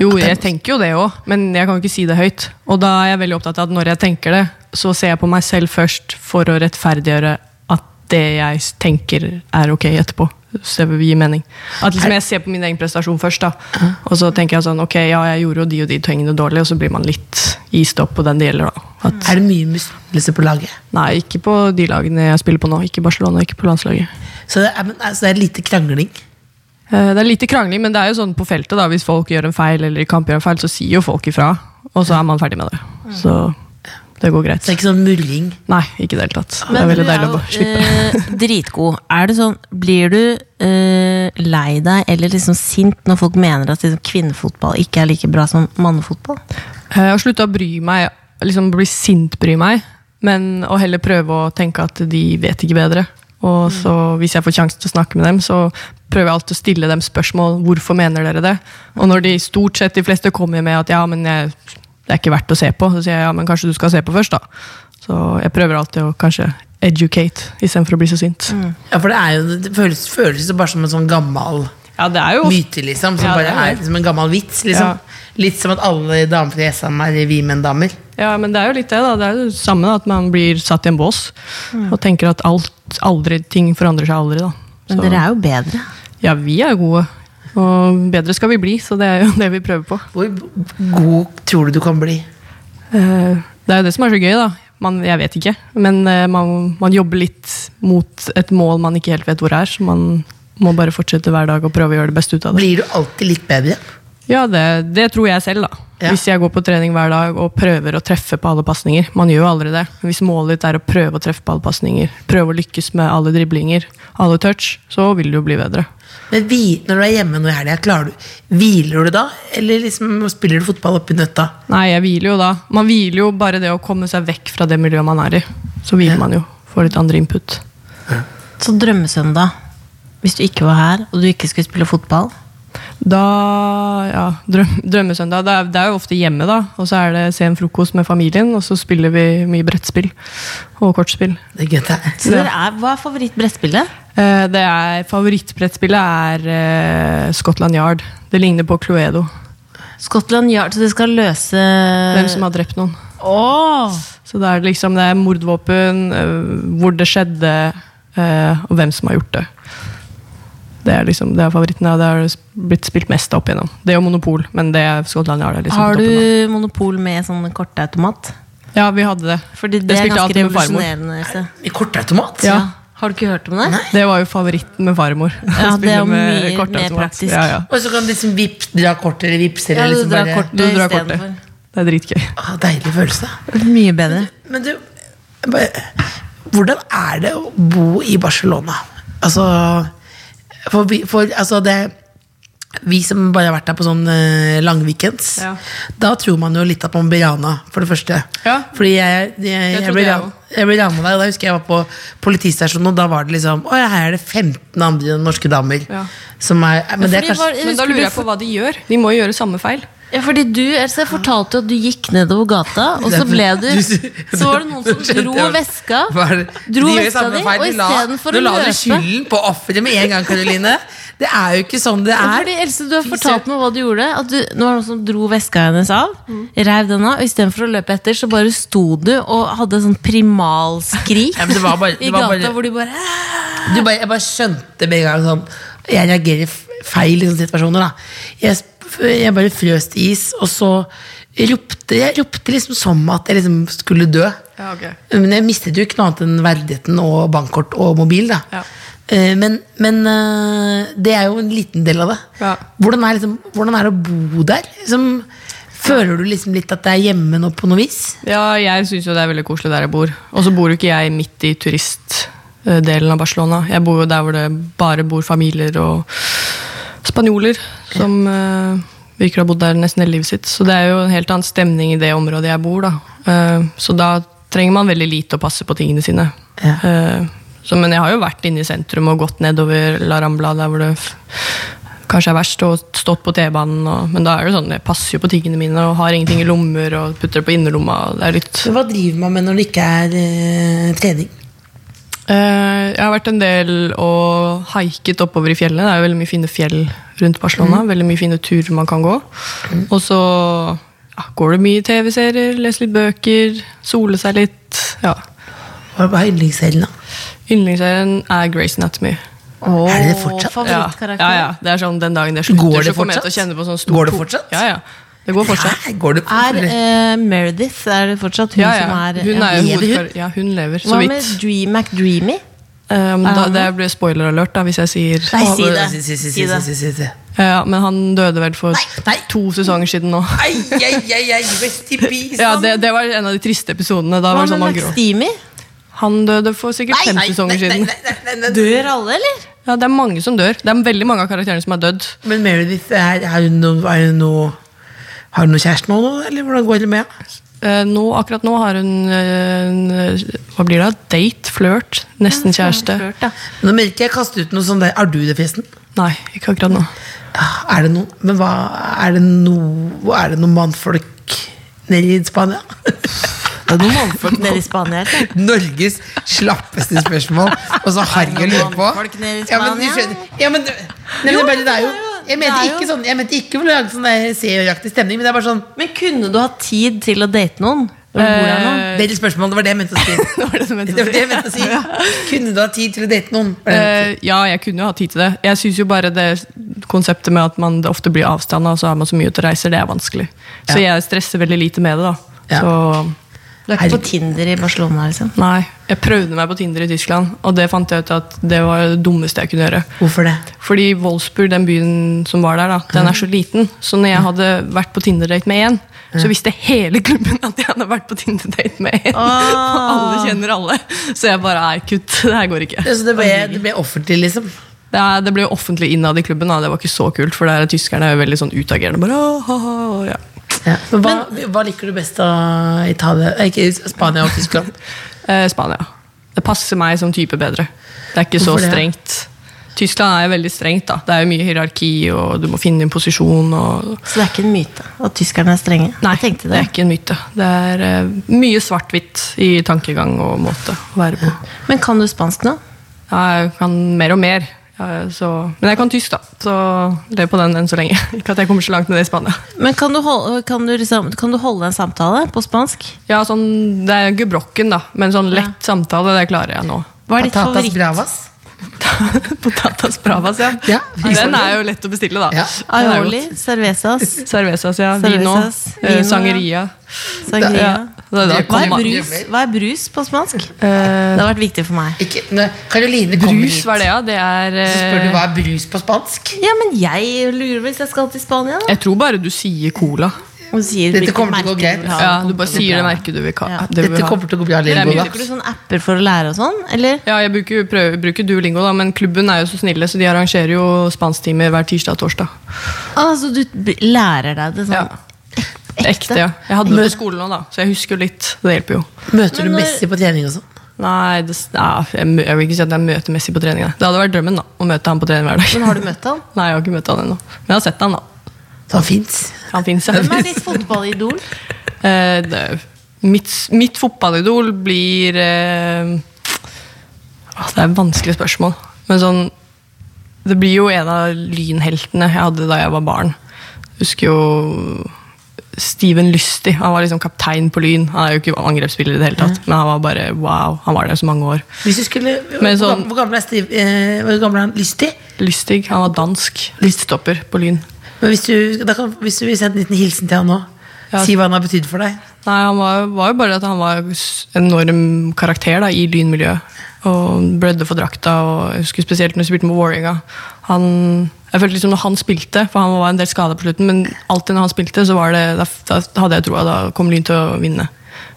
Speaker 5: Jo, jeg tenker jo det òg, men jeg kan jo ikke si det høyt. Og da er jeg veldig opptatt av at når jeg tenker det, så ser jeg på meg selv først for å rettferdiggjøre at det jeg tenker, er ok etterpå. Så det gir mening. At liksom jeg ser på min egen prestasjon først, da. Og så tenker jeg sånn, ok, ja, jeg gjorde jo de og de tingene dårlig, og så blir man litt gist opp på den det gjelder, da. At,
Speaker 2: Er det mye misunnelse på laget?
Speaker 5: nei, ikke på de lagene jeg spiller på nå. Ikke Barcelona, ikke på landslaget.
Speaker 2: Så det er, men, altså, det er lite krangling.
Speaker 5: Eh, Det er lite krangling, men det er jo sånn på feltet da, hvis folk gjør en feil, eller i kamp gjør en feil, så sier jo folk ifra, og så er man ferdig med det. Så det går greit.
Speaker 2: Så det er ikke sånn murring.
Speaker 5: Nei, ikke i det hele tatt. Det er veldig deilig å bare slippe.
Speaker 4: eh, dritgod. Er det sånn, blir du eh, lei deg eller liksom sint når folk mener at liksom, kvinnefotball ikke er like bra som mannefotball?
Speaker 5: Eh, Jeg har slutta å bry meg, liksom bli sint bry meg, men å heller prøve å tenke at de vet ikke bedre. Og så hvis jeg får sjansen til å snakke med dem, så prøver jeg alltid å stille dem spørsmål. Hvorfor mener dere det? Og når de stort sett de fleste kommer med at ja, men jeg, det er ikke verdt å se på, så sier jeg ja, men kanskje du skal se på først, da. Så jeg prøver alltid å kanskje educate istedenfor å bli så sint.
Speaker 2: Ja, for det, er jo, det føles, føles jo bare som en sånn gammel
Speaker 5: Ja, det er jo
Speaker 2: myte, liksom. Som
Speaker 5: Ja, det
Speaker 2: bare
Speaker 5: er
Speaker 2: er
Speaker 5: det.
Speaker 2: som en gammel vits.
Speaker 5: Ja.
Speaker 2: liksom Litt som at alle damer fra Jessheim er vi menn-damer.
Speaker 5: Ja, men det er jo litt det, da. Det er jo det samme da, at man blir satt i en bås
Speaker 4: Mm.
Speaker 5: og tenker at alt, aldri, ting forandrer seg aldri, da.
Speaker 4: Men dere er jo bedre.
Speaker 5: Ja, vi er gode, og bedre skal vi bli, så det er jo [LAUGHS] det vi prøver på.
Speaker 2: Hvor god tror du du kan bli?
Speaker 5: Eh, Det er jo det som er så gøy, da. Man, jeg vet ikke, men eh, man, man jobber litt mot et mål man ikke helt vet hvor er, så man må bare fortsette hver dag og prøve å gjøre det beste ut av det.
Speaker 2: Blir du alltid litt bedre?
Speaker 5: Ja, det, det tror jeg selv, da.
Speaker 2: Ja.
Speaker 5: Hvis jeg går på trening hver dag og prøver å treffe på alle pasninger. Man gjør jo aldri det. Men Hvis målet ditt er å prøve å treffe på alle pasninger, prøve å lykkes med alle driblinger, alle touch, så vil du jo bli bedre.
Speaker 2: Men vi, når du er hjemme nå i helga, klarer du, hviler du da? Eller liksom spiller du fotball oppi nøtta?
Speaker 5: Nei, jeg hviler jo da. Man hviler jo bare det å komme seg vekk fra det miljøet man er i. Så hviler man jo. Får litt andre input.
Speaker 4: Så drømmesøndag, hvis du ikke var her og du ikke skulle spille fotball
Speaker 5: Da, ja, drøm, Drømmesøndag. Det er, det er jo ofte hjemme, da. Og så er det sen frokost med familien, og så spiller vi mye brettspill og kortspill.
Speaker 2: Det er gøy, det er.
Speaker 4: så dere er, Hva er favorittbrettspillet?
Speaker 5: Eh, Det er, favorittbrettspillet er eh, Scotland Yard. Det ligner på Cluedo.
Speaker 4: Scotland Yard, så dere skal løse
Speaker 5: Hvem som har drept noen.
Speaker 4: Åh!
Speaker 5: Så det er liksom det er mordvåpen, eh, hvor det skjedde, eh, og hvem som har gjort det. Det er liksom, det er favoritten. ja. Det har blitt spilt mest opp igjennom. Det er jo Monopol, men det er Scotland Yard. Er liksom på
Speaker 4: Har
Speaker 5: toppen,
Speaker 4: du monopol med sånn kortautomat?
Speaker 5: da. Ja, vi hadde det.
Speaker 4: Fordi det,
Speaker 5: Jeg
Speaker 4: er
Speaker 5: spilte
Speaker 4: ganske
Speaker 5: alltid med farmor.
Speaker 4: revolusjonerende. Else.
Speaker 2: I kortautomat?
Speaker 5: Ja.
Speaker 4: Har du ikke hørt om det?
Speaker 5: Det var jo favoritten med farmor. [LAUGHS]
Speaker 4: Ja,
Speaker 5: Å
Speaker 4: det er jo
Speaker 5: spille med
Speaker 4: mye mer
Speaker 5: kortautomat.
Speaker 4: praktisk.
Speaker 5: Ja, ja.
Speaker 2: Og så kan du liksom vipp, dra kort eller vipse eller
Speaker 4: Ja, du
Speaker 2: liksom
Speaker 4: drar
Speaker 2: bare
Speaker 4: kort.
Speaker 5: Du drar
Speaker 4: Istedenfor.
Speaker 5: kortet. Det er dritgøy.
Speaker 2: Å, Deilig følelse.
Speaker 4: Mye bedre.
Speaker 2: Men du, jeg bare- hvordan er det å bo i Barcelona? Altså, for, vi- for altså det vi som bare har vært der på sånn eh, langweekends,
Speaker 5: Ja.
Speaker 2: da tror man jo litt at man blir rana, for det første.
Speaker 5: Ja.
Speaker 2: Fordi jeg, jeg, jeg,
Speaker 5: trodde
Speaker 2: ble
Speaker 5: jeg
Speaker 2: ran- jeg ble rana der, og da husker jeg jeg var på politistasjonen, og da var det liksom Å ja, her er det 15 andre norske damer.
Speaker 5: Ja.
Speaker 2: Som er, men det er
Speaker 4: fordi
Speaker 2: kanskje
Speaker 4: var-
Speaker 5: Men da lurer jeg på hva de gjør. De må jo gjøre samme feil.
Speaker 4: Ja, fordi du, Else, fortalte jo at du gikk nedover gata, og så ble du [LAUGHS] Så var det
Speaker 2: [LAUGHS]
Speaker 4: noen som dro veska.
Speaker 2: Hva er det?
Speaker 4: Dro
Speaker 2: De gjør
Speaker 4: veska
Speaker 2: samme
Speaker 4: di,
Speaker 2: feil.
Speaker 4: og
Speaker 2: Du la-
Speaker 4: istedenfor
Speaker 2: du
Speaker 4: å
Speaker 2: la du
Speaker 4: løpe
Speaker 2: skylden på offeret med en gang, Karoline. Det er jo ikke sånn det
Speaker 4: Ja,
Speaker 2: er.
Speaker 4: Fordi, Else, du har fortalt meg hva du gjorde. At du, nå var det noen som dro veska hennes av.
Speaker 2: Mm.
Speaker 4: Reiv den av. Og istedenfor å løpe etter, så bare sto du og hadde sånn
Speaker 2: [LAUGHS]
Speaker 4: primalskrik
Speaker 2: Ja, men det var bare- det
Speaker 4: i
Speaker 2: var
Speaker 4: gata
Speaker 2: bare-
Speaker 4: hvor du bare "Æ!"
Speaker 2: Du bare, jeg bare skjønte med en gang sånn Jeg reagerer f- feil i sånne situasjoner, da. Jeg, sp- jeg bare frøs til is, og så ropte jeg ropte liksom som at jeg liksom skulle dø.
Speaker 5: Ja, ok.
Speaker 2: Men jeg mistet jo ikke noe annet enn verdigheten og bankkort og mobil, da.
Speaker 5: Ja.
Speaker 2: Eh, Men, men eh, det er jo en liten del av det.
Speaker 5: Ja.
Speaker 2: Hvordan, er liksom, hvordan er det å bo der? Liksom, føler du liksom litt at det er hjemme nå på noe vis?
Speaker 5: Ja, jeg syns jo det er veldig koselig der jeg bor. Og så bor jo ikke jeg midt i turistdelen av Barcelona. Jeg bor jo der hvor det bare bor familier og spanjoler som eh, virker å ha bodd der nesten hele livet sitt. Så det er jo en helt annen stemning i det området jeg bor, da. Eh, så da trenger man veldig lite å passe på tingene sine.
Speaker 2: Ja.
Speaker 5: Eh, så, men jeg har jo vært inne i sentrum og gått nedover La Rambla, der hvor det f- kanskje er verst, og stått på T-banen. og- Men da er det jo sånn, jeg passer jo på tingene mine og har ingenting i lommer og putter det på innerlomma. og Det er litt...
Speaker 2: Hva driver man med når det ikke er eh, trening?
Speaker 5: Eh, jeg har vært en del og haiket oppover i fjellene. Det er jo veldig mye fine fjell rundt Barcelona. Veldig mye fine turer man kan gå. Og så ja, går det mye TV-serier, leser litt bøker, sole seg litt. Ja.
Speaker 2: Hva hva er yndlingsserien, da?
Speaker 5: Yndlingsserien er Grace Anatomy.
Speaker 2: Er det det fortsatt?
Speaker 5: Ja,
Speaker 4: favorittkarakter.
Speaker 5: ja, ja. Det er sånn den dagen det slutter,
Speaker 2: Går det
Speaker 5: så kommer jeg til å
Speaker 2: fortsatt?
Speaker 5: kjenne på sånn stor
Speaker 2: Går det
Speaker 5: to-
Speaker 2: fortsatt?
Speaker 5: Ja, ja. Det går fortsatt.
Speaker 2: Nei, går det
Speaker 4: Er eh, Meredith er det fortsatt hun
Speaker 5: Ja, ja.
Speaker 4: som er
Speaker 5: Hun er jo
Speaker 4: ja.
Speaker 5: hovedkar... Ja, hun lever, så
Speaker 4: Hva med
Speaker 5: vidt.
Speaker 4: Dream McDreamy?
Speaker 5: Eh, men da, det blir spoiler-alert da, hvis jeg sier
Speaker 4: Nei, eh, si det.
Speaker 2: Si, si, si,
Speaker 4: Si
Speaker 2: si,
Speaker 4: det.
Speaker 2: si, si, si.
Speaker 5: Ja, Men han døde vel for
Speaker 2: nei.
Speaker 5: to sesonger siden nå.
Speaker 2: Ai, ai, ai, ai, rest i peace.
Speaker 5: [LAUGHS] Ja, det, det var en av de triste episodene. Da
Speaker 4: Hva
Speaker 5: var det
Speaker 4: med
Speaker 5: sånn man
Speaker 4: Max
Speaker 5: gråt.
Speaker 4: Steamy?
Speaker 5: Han døde for sikkert fem sesonger siden.
Speaker 4: Dør alle, eller?
Speaker 5: Ja, Det er mange som dør. Det er veldig mange av karakterene som er dødd.
Speaker 2: Men Meredith, er, er hun noe, er hun noe Har hun noe kjæreste nå, nå, eller hvordan går det med henne?
Speaker 5: Eh, nå, akkurat nå har hun eh, en, Hva blir det? Date? Flørt? Nesten kjæreste?
Speaker 4: Flørt, ja.
Speaker 2: Nå merker jeg kaste ut noe sånt der. Er du det, forresten?
Speaker 5: Nei, ikke akkurat nå.
Speaker 2: Ah, Er det noe Men hva Er det noe Er det noe mannfolk nede i Spania?
Speaker 4: [LAUGHS] Det er noen mannfolk nede i Spania. vet du.
Speaker 2: Norges slappeste spørsmål, og så har jeg å lure på.
Speaker 4: Folk nede i
Speaker 2: Ja, men du
Speaker 4: Spania?
Speaker 2: skjønner ja, men, nei, men det, er bare- det er jo Jeg mente
Speaker 4: det er
Speaker 2: ikke
Speaker 4: jo-
Speaker 2: sånn Jeg mente ikke for å lage sånn der seeraktig stemning, men det er bare sånn
Speaker 4: Men kunne du hatt tid til å date noen? Når du bor der nå?
Speaker 2: Det er et spørsmål, det var det jeg mente å si.
Speaker 5: Det var det som jeg
Speaker 2: Det var det jeg mente å si. Kunne du ha tid til å date noen? Var det jeg mente å si.
Speaker 5: Eh, ja, jeg kunne jo ha tid til det. Jeg syns jo bare det konseptet med at man det ofte blir avstand, og så har man så mye ute og reiser, det er vanskelig. Så jeg stresser veldig lite med det, da.
Speaker 2: Ja.
Speaker 5: Så
Speaker 4: Du er ikke på Tinder i Barcelona, liksom?
Speaker 5: nei. Jeg prøvde meg på Tinder i Tyskland, og det fant jeg ut at det var det dummeste jeg kunne gjøre.
Speaker 2: Hvorfor det?
Speaker 5: Fordi Wolfsburg, den byen som var der, da, den er så liten. Så når jeg hadde vært på Tinder-date med én, så visste hele klubben at jeg hadde vært på Tinder-date med én. [LAUGHS] Og alle kjenner alle. Så jeg bare nei, kutt. Det her går ikke.
Speaker 2: Altså, det, ble, det ble offentlig, liksom.
Speaker 5: Det, er, det ble jo offentlig innad i klubben, da. det var ikke så kult, for der er tyskerne veldig sånn utagerende. Bare, «Åh, ha, ha», og ja.
Speaker 2: Ja. Men hva, hva liker du best av Italia eh, Ikke Spania og Tyskland?
Speaker 5: eh, Spania. Det passer meg som type bedre. Det er ikke
Speaker 2: Hvorfor
Speaker 5: så
Speaker 2: det?
Speaker 5: strengt. Tyskland er jo veldig strengt. da. Det er jo mye hierarki, og du må finne din posisjon. og...
Speaker 4: Så det er ikke en myte at tyskerne er strenge?
Speaker 5: Nei,
Speaker 4: Jeg tenkte
Speaker 5: det er ikke en myte. Det er eh, mye svart-hvitt i tankegang og måte å være på.
Speaker 4: Men kan du spansk nå?
Speaker 5: Jeg kan mer og mer. ja, Så, men jeg kan tysk, da. Så lev på den enn så lenge. [LAUGHS] Ikke at jeg kommer så langt med det i Spania.
Speaker 4: Men kan du, holde, kan, du liksom, kan du holde en samtale på spansk?
Speaker 5: Ja, sånn, Det er gebrokken, da. Men sånn lett samtale, det klarer jeg nå. [LAUGHS]
Speaker 4: Hva er ditt
Speaker 2: Patatas
Speaker 4: [LAUGHS] favoritt?
Speaker 2: bravas?
Speaker 5: Potatas bravas, ja.
Speaker 2: Ja.
Speaker 5: Den er jo lett å bestille, da.
Speaker 2: Ja.
Speaker 5: Den er
Speaker 4: Aioli,
Speaker 5: godt.
Speaker 4: cervezas,
Speaker 5: Cervezas, ja. Vino.
Speaker 4: Cervezas,
Speaker 5: eh,
Speaker 4: vino,
Speaker 5: Sangeria.
Speaker 4: sangria
Speaker 5: Ja. Da, da,
Speaker 2: Det
Speaker 4: hva, er
Speaker 5: kom-
Speaker 4: brus? hva er brus på spansk? det har vært viktig for meg.
Speaker 2: Ikke, nei, Caroline kommer
Speaker 5: Brus,
Speaker 2: hit,
Speaker 5: hva er det, ja? Det er
Speaker 2: så spør
Speaker 5: eh,
Speaker 2: du hva er brus på spansk?
Speaker 4: Ja, men jeg lurer hvis jeg skal til Spania, da.
Speaker 5: Jeg tror bare du sier cola.
Speaker 4: Hun sier
Speaker 2: Dette
Speaker 4: hvilke
Speaker 2: kommer til å gå greit.
Speaker 4: merker hun vil ha.
Speaker 5: Ja,
Speaker 4: Det
Speaker 5: du
Speaker 4: kommer til å
Speaker 5: bare
Speaker 4: bli
Speaker 5: sier det
Speaker 4: bra.
Speaker 5: merket du vil ha.
Speaker 4: Ja.
Speaker 5: Det du vil
Speaker 2: Dette
Speaker 5: ha.
Speaker 2: kommer til å gå bli av
Speaker 5: Det er
Speaker 2: Lingo,
Speaker 5: mye
Speaker 2: da.
Speaker 4: Bruker du sånne apper for å lære og sånn, eller?
Speaker 5: Ja, jeg bruker, jo- prøver, bruker Duolingo, da, men klubben er jo så snille, så de arrangerer jo spansktimer hver tirsdag og torsdag.
Speaker 4: Ah, så du b- lærer deg det sånn?
Speaker 5: Ja. Ekte, ja. Jeg hadde det på skolen òg, da, så jeg husker jo litt. Det hjelper jo.
Speaker 2: Møter du
Speaker 4: Men når-
Speaker 2: Messi på trening og sånn?
Speaker 5: Nei, det, ja, jeg, mø- jeg vil ikke si at jeg møter Messi på trening. da. Det hadde vært drømmen da, å møte han på trening hver dag.
Speaker 4: Men har du møtt han?
Speaker 5: [LAUGHS] Nei, jeg har ikke møtt han ennå. Men jeg har sett han, da.
Speaker 2: Så han fins.
Speaker 5: Han finnes, ja.
Speaker 4: Hvem er ditt fotballidol?
Speaker 5: [LAUGHS] Eh, det, mitt, mitt fotballidol blir eh, ah, Det er et vanskelig spørsmål. Men sånn Det blir jo en av lynheltene jeg hadde da jeg var barn. Jeg husker jo Steven Lystig. Han var liksom kaptein på Lyn. Han er jo ikke angrepsspiller i det hele tatt,
Speaker 4: Mm.
Speaker 5: men han var bare wow. Han var der så mange år.
Speaker 2: Hvis du skulle,
Speaker 5: Men
Speaker 2: hvor,
Speaker 5: sånn-
Speaker 2: gammel, hvor gammel er Steve, eh, hvor gammel er han? Lystig?
Speaker 5: Lystig. Han var dansk. Lyststopper på Lyn.
Speaker 2: Men hvis du, da kan, hvis du vil sende en liten hilsen til han nå,
Speaker 5: Ja.
Speaker 2: si hva han har betydd for deg.
Speaker 5: Nei, han var, var jo bare at han var s- enorm karakter da, i lynmiljøet. Og blødde for drakta, og jeg husker spesielt når vi spilte med Vålerenga. Han- Jeg følte liksom når han spilte, for han var en del skada på slutten, men alltid når han spilte, så var det, da, da hadde jeg troa. Da kom Lyn til å vinne.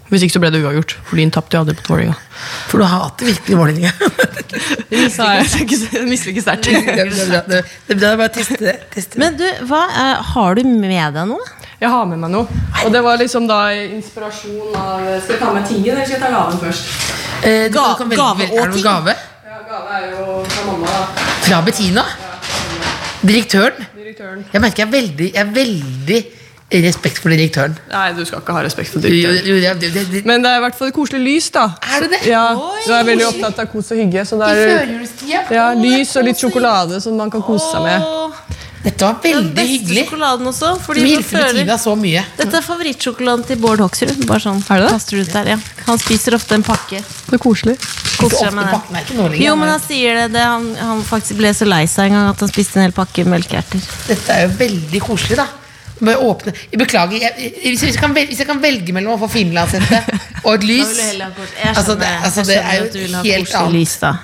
Speaker 5: Hvis ikke så ble det uavgjort, for Lyn tapte jo aldri på Vålerenga.
Speaker 2: For du hater virkelig Vålerenga.
Speaker 5: [LAUGHS] Nei, jeg skal ikke- jeg misliker sterkt.
Speaker 2: det er bra, det er bra. Det er bra, bare teste det. Teste det.
Speaker 4: Men du, hva er, har du med deg noe?
Speaker 5: Jeg har med meg noe. Og det var liksom da inspirasjon av Skal jeg ta med tingen, eller skal jeg ta gaven først?
Speaker 2: Eh, du kan- du kan
Speaker 4: Ga-
Speaker 2: velge- velge- er
Speaker 4: gave
Speaker 2: det
Speaker 4: og
Speaker 2: noen
Speaker 4: ting.
Speaker 2: gave?
Speaker 5: Ja, gave er jo fra mamma, da.
Speaker 2: Fra Bettina? Direktøren?
Speaker 5: Direktøren.
Speaker 2: Jeg merker jeg er veldig, jeg er veldig respekt for direktøren.
Speaker 5: Nei, du skal ikke ha respekt for
Speaker 2: Jo, jo,
Speaker 5: direktøren.
Speaker 2: jo, det- det- det-
Speaker 5: Men det er i hvert fall koselig lys, da.
Speaker 2: Er det det?
Speaker 5: Ja,
Speaker 2: Oi,
Speaker 5: Nå er jeg veldig opptatt av kos og hygge. Så det
Speaker 2: I
Speaker 5: er
Speaker 2: førjulstida.
Speaker 5: ja, lys og litt sjokolade som man kan kose seg med.
Speaker 2: Dette var
Speaker 4: Den
Speaker 2: veldig
Speaker 4: beste
Speaker 2: hyggelig.
Speaker 4: sjokoladen også.
Speaker 2: Du
Speaker 4: Fordi nå
Speaker 2: hilser
Speaker 4: føler-
Speaker 2: Bettina så mye.
Speaker 4: Dette er favorittsjokoladen til Bård Hoksrud. Bare sånn,
Speaker 5: Er det det?
Speaker 4: kaster ut der, ja. Han spiser ofte en pakke.
Speaker 5: Så koselig.
Speaker 2: Ikke
Speaker 4: Koser seg
Speaker 2: ofte
Speaker 4: med
Speaker 2: pakken
Speaker 4: det.
Speaker 2: er ikke nå lenger.
Speaker 4: Jo, men altså- han sier det. det han, han faktisk ble så lei seg en gang at han spiste en hel pakke melkeerter.
Speaker 2: Dette er jo veldig koselig, da. Må jeg åpne Jeg Beklager. Jeg, jeg- hvis, jeg kan velge, hvis jeg kan velge mellom å få finlandshette og et lys altså, det, altså, det er jo et helt annet.
Speaker 4: Lys, da.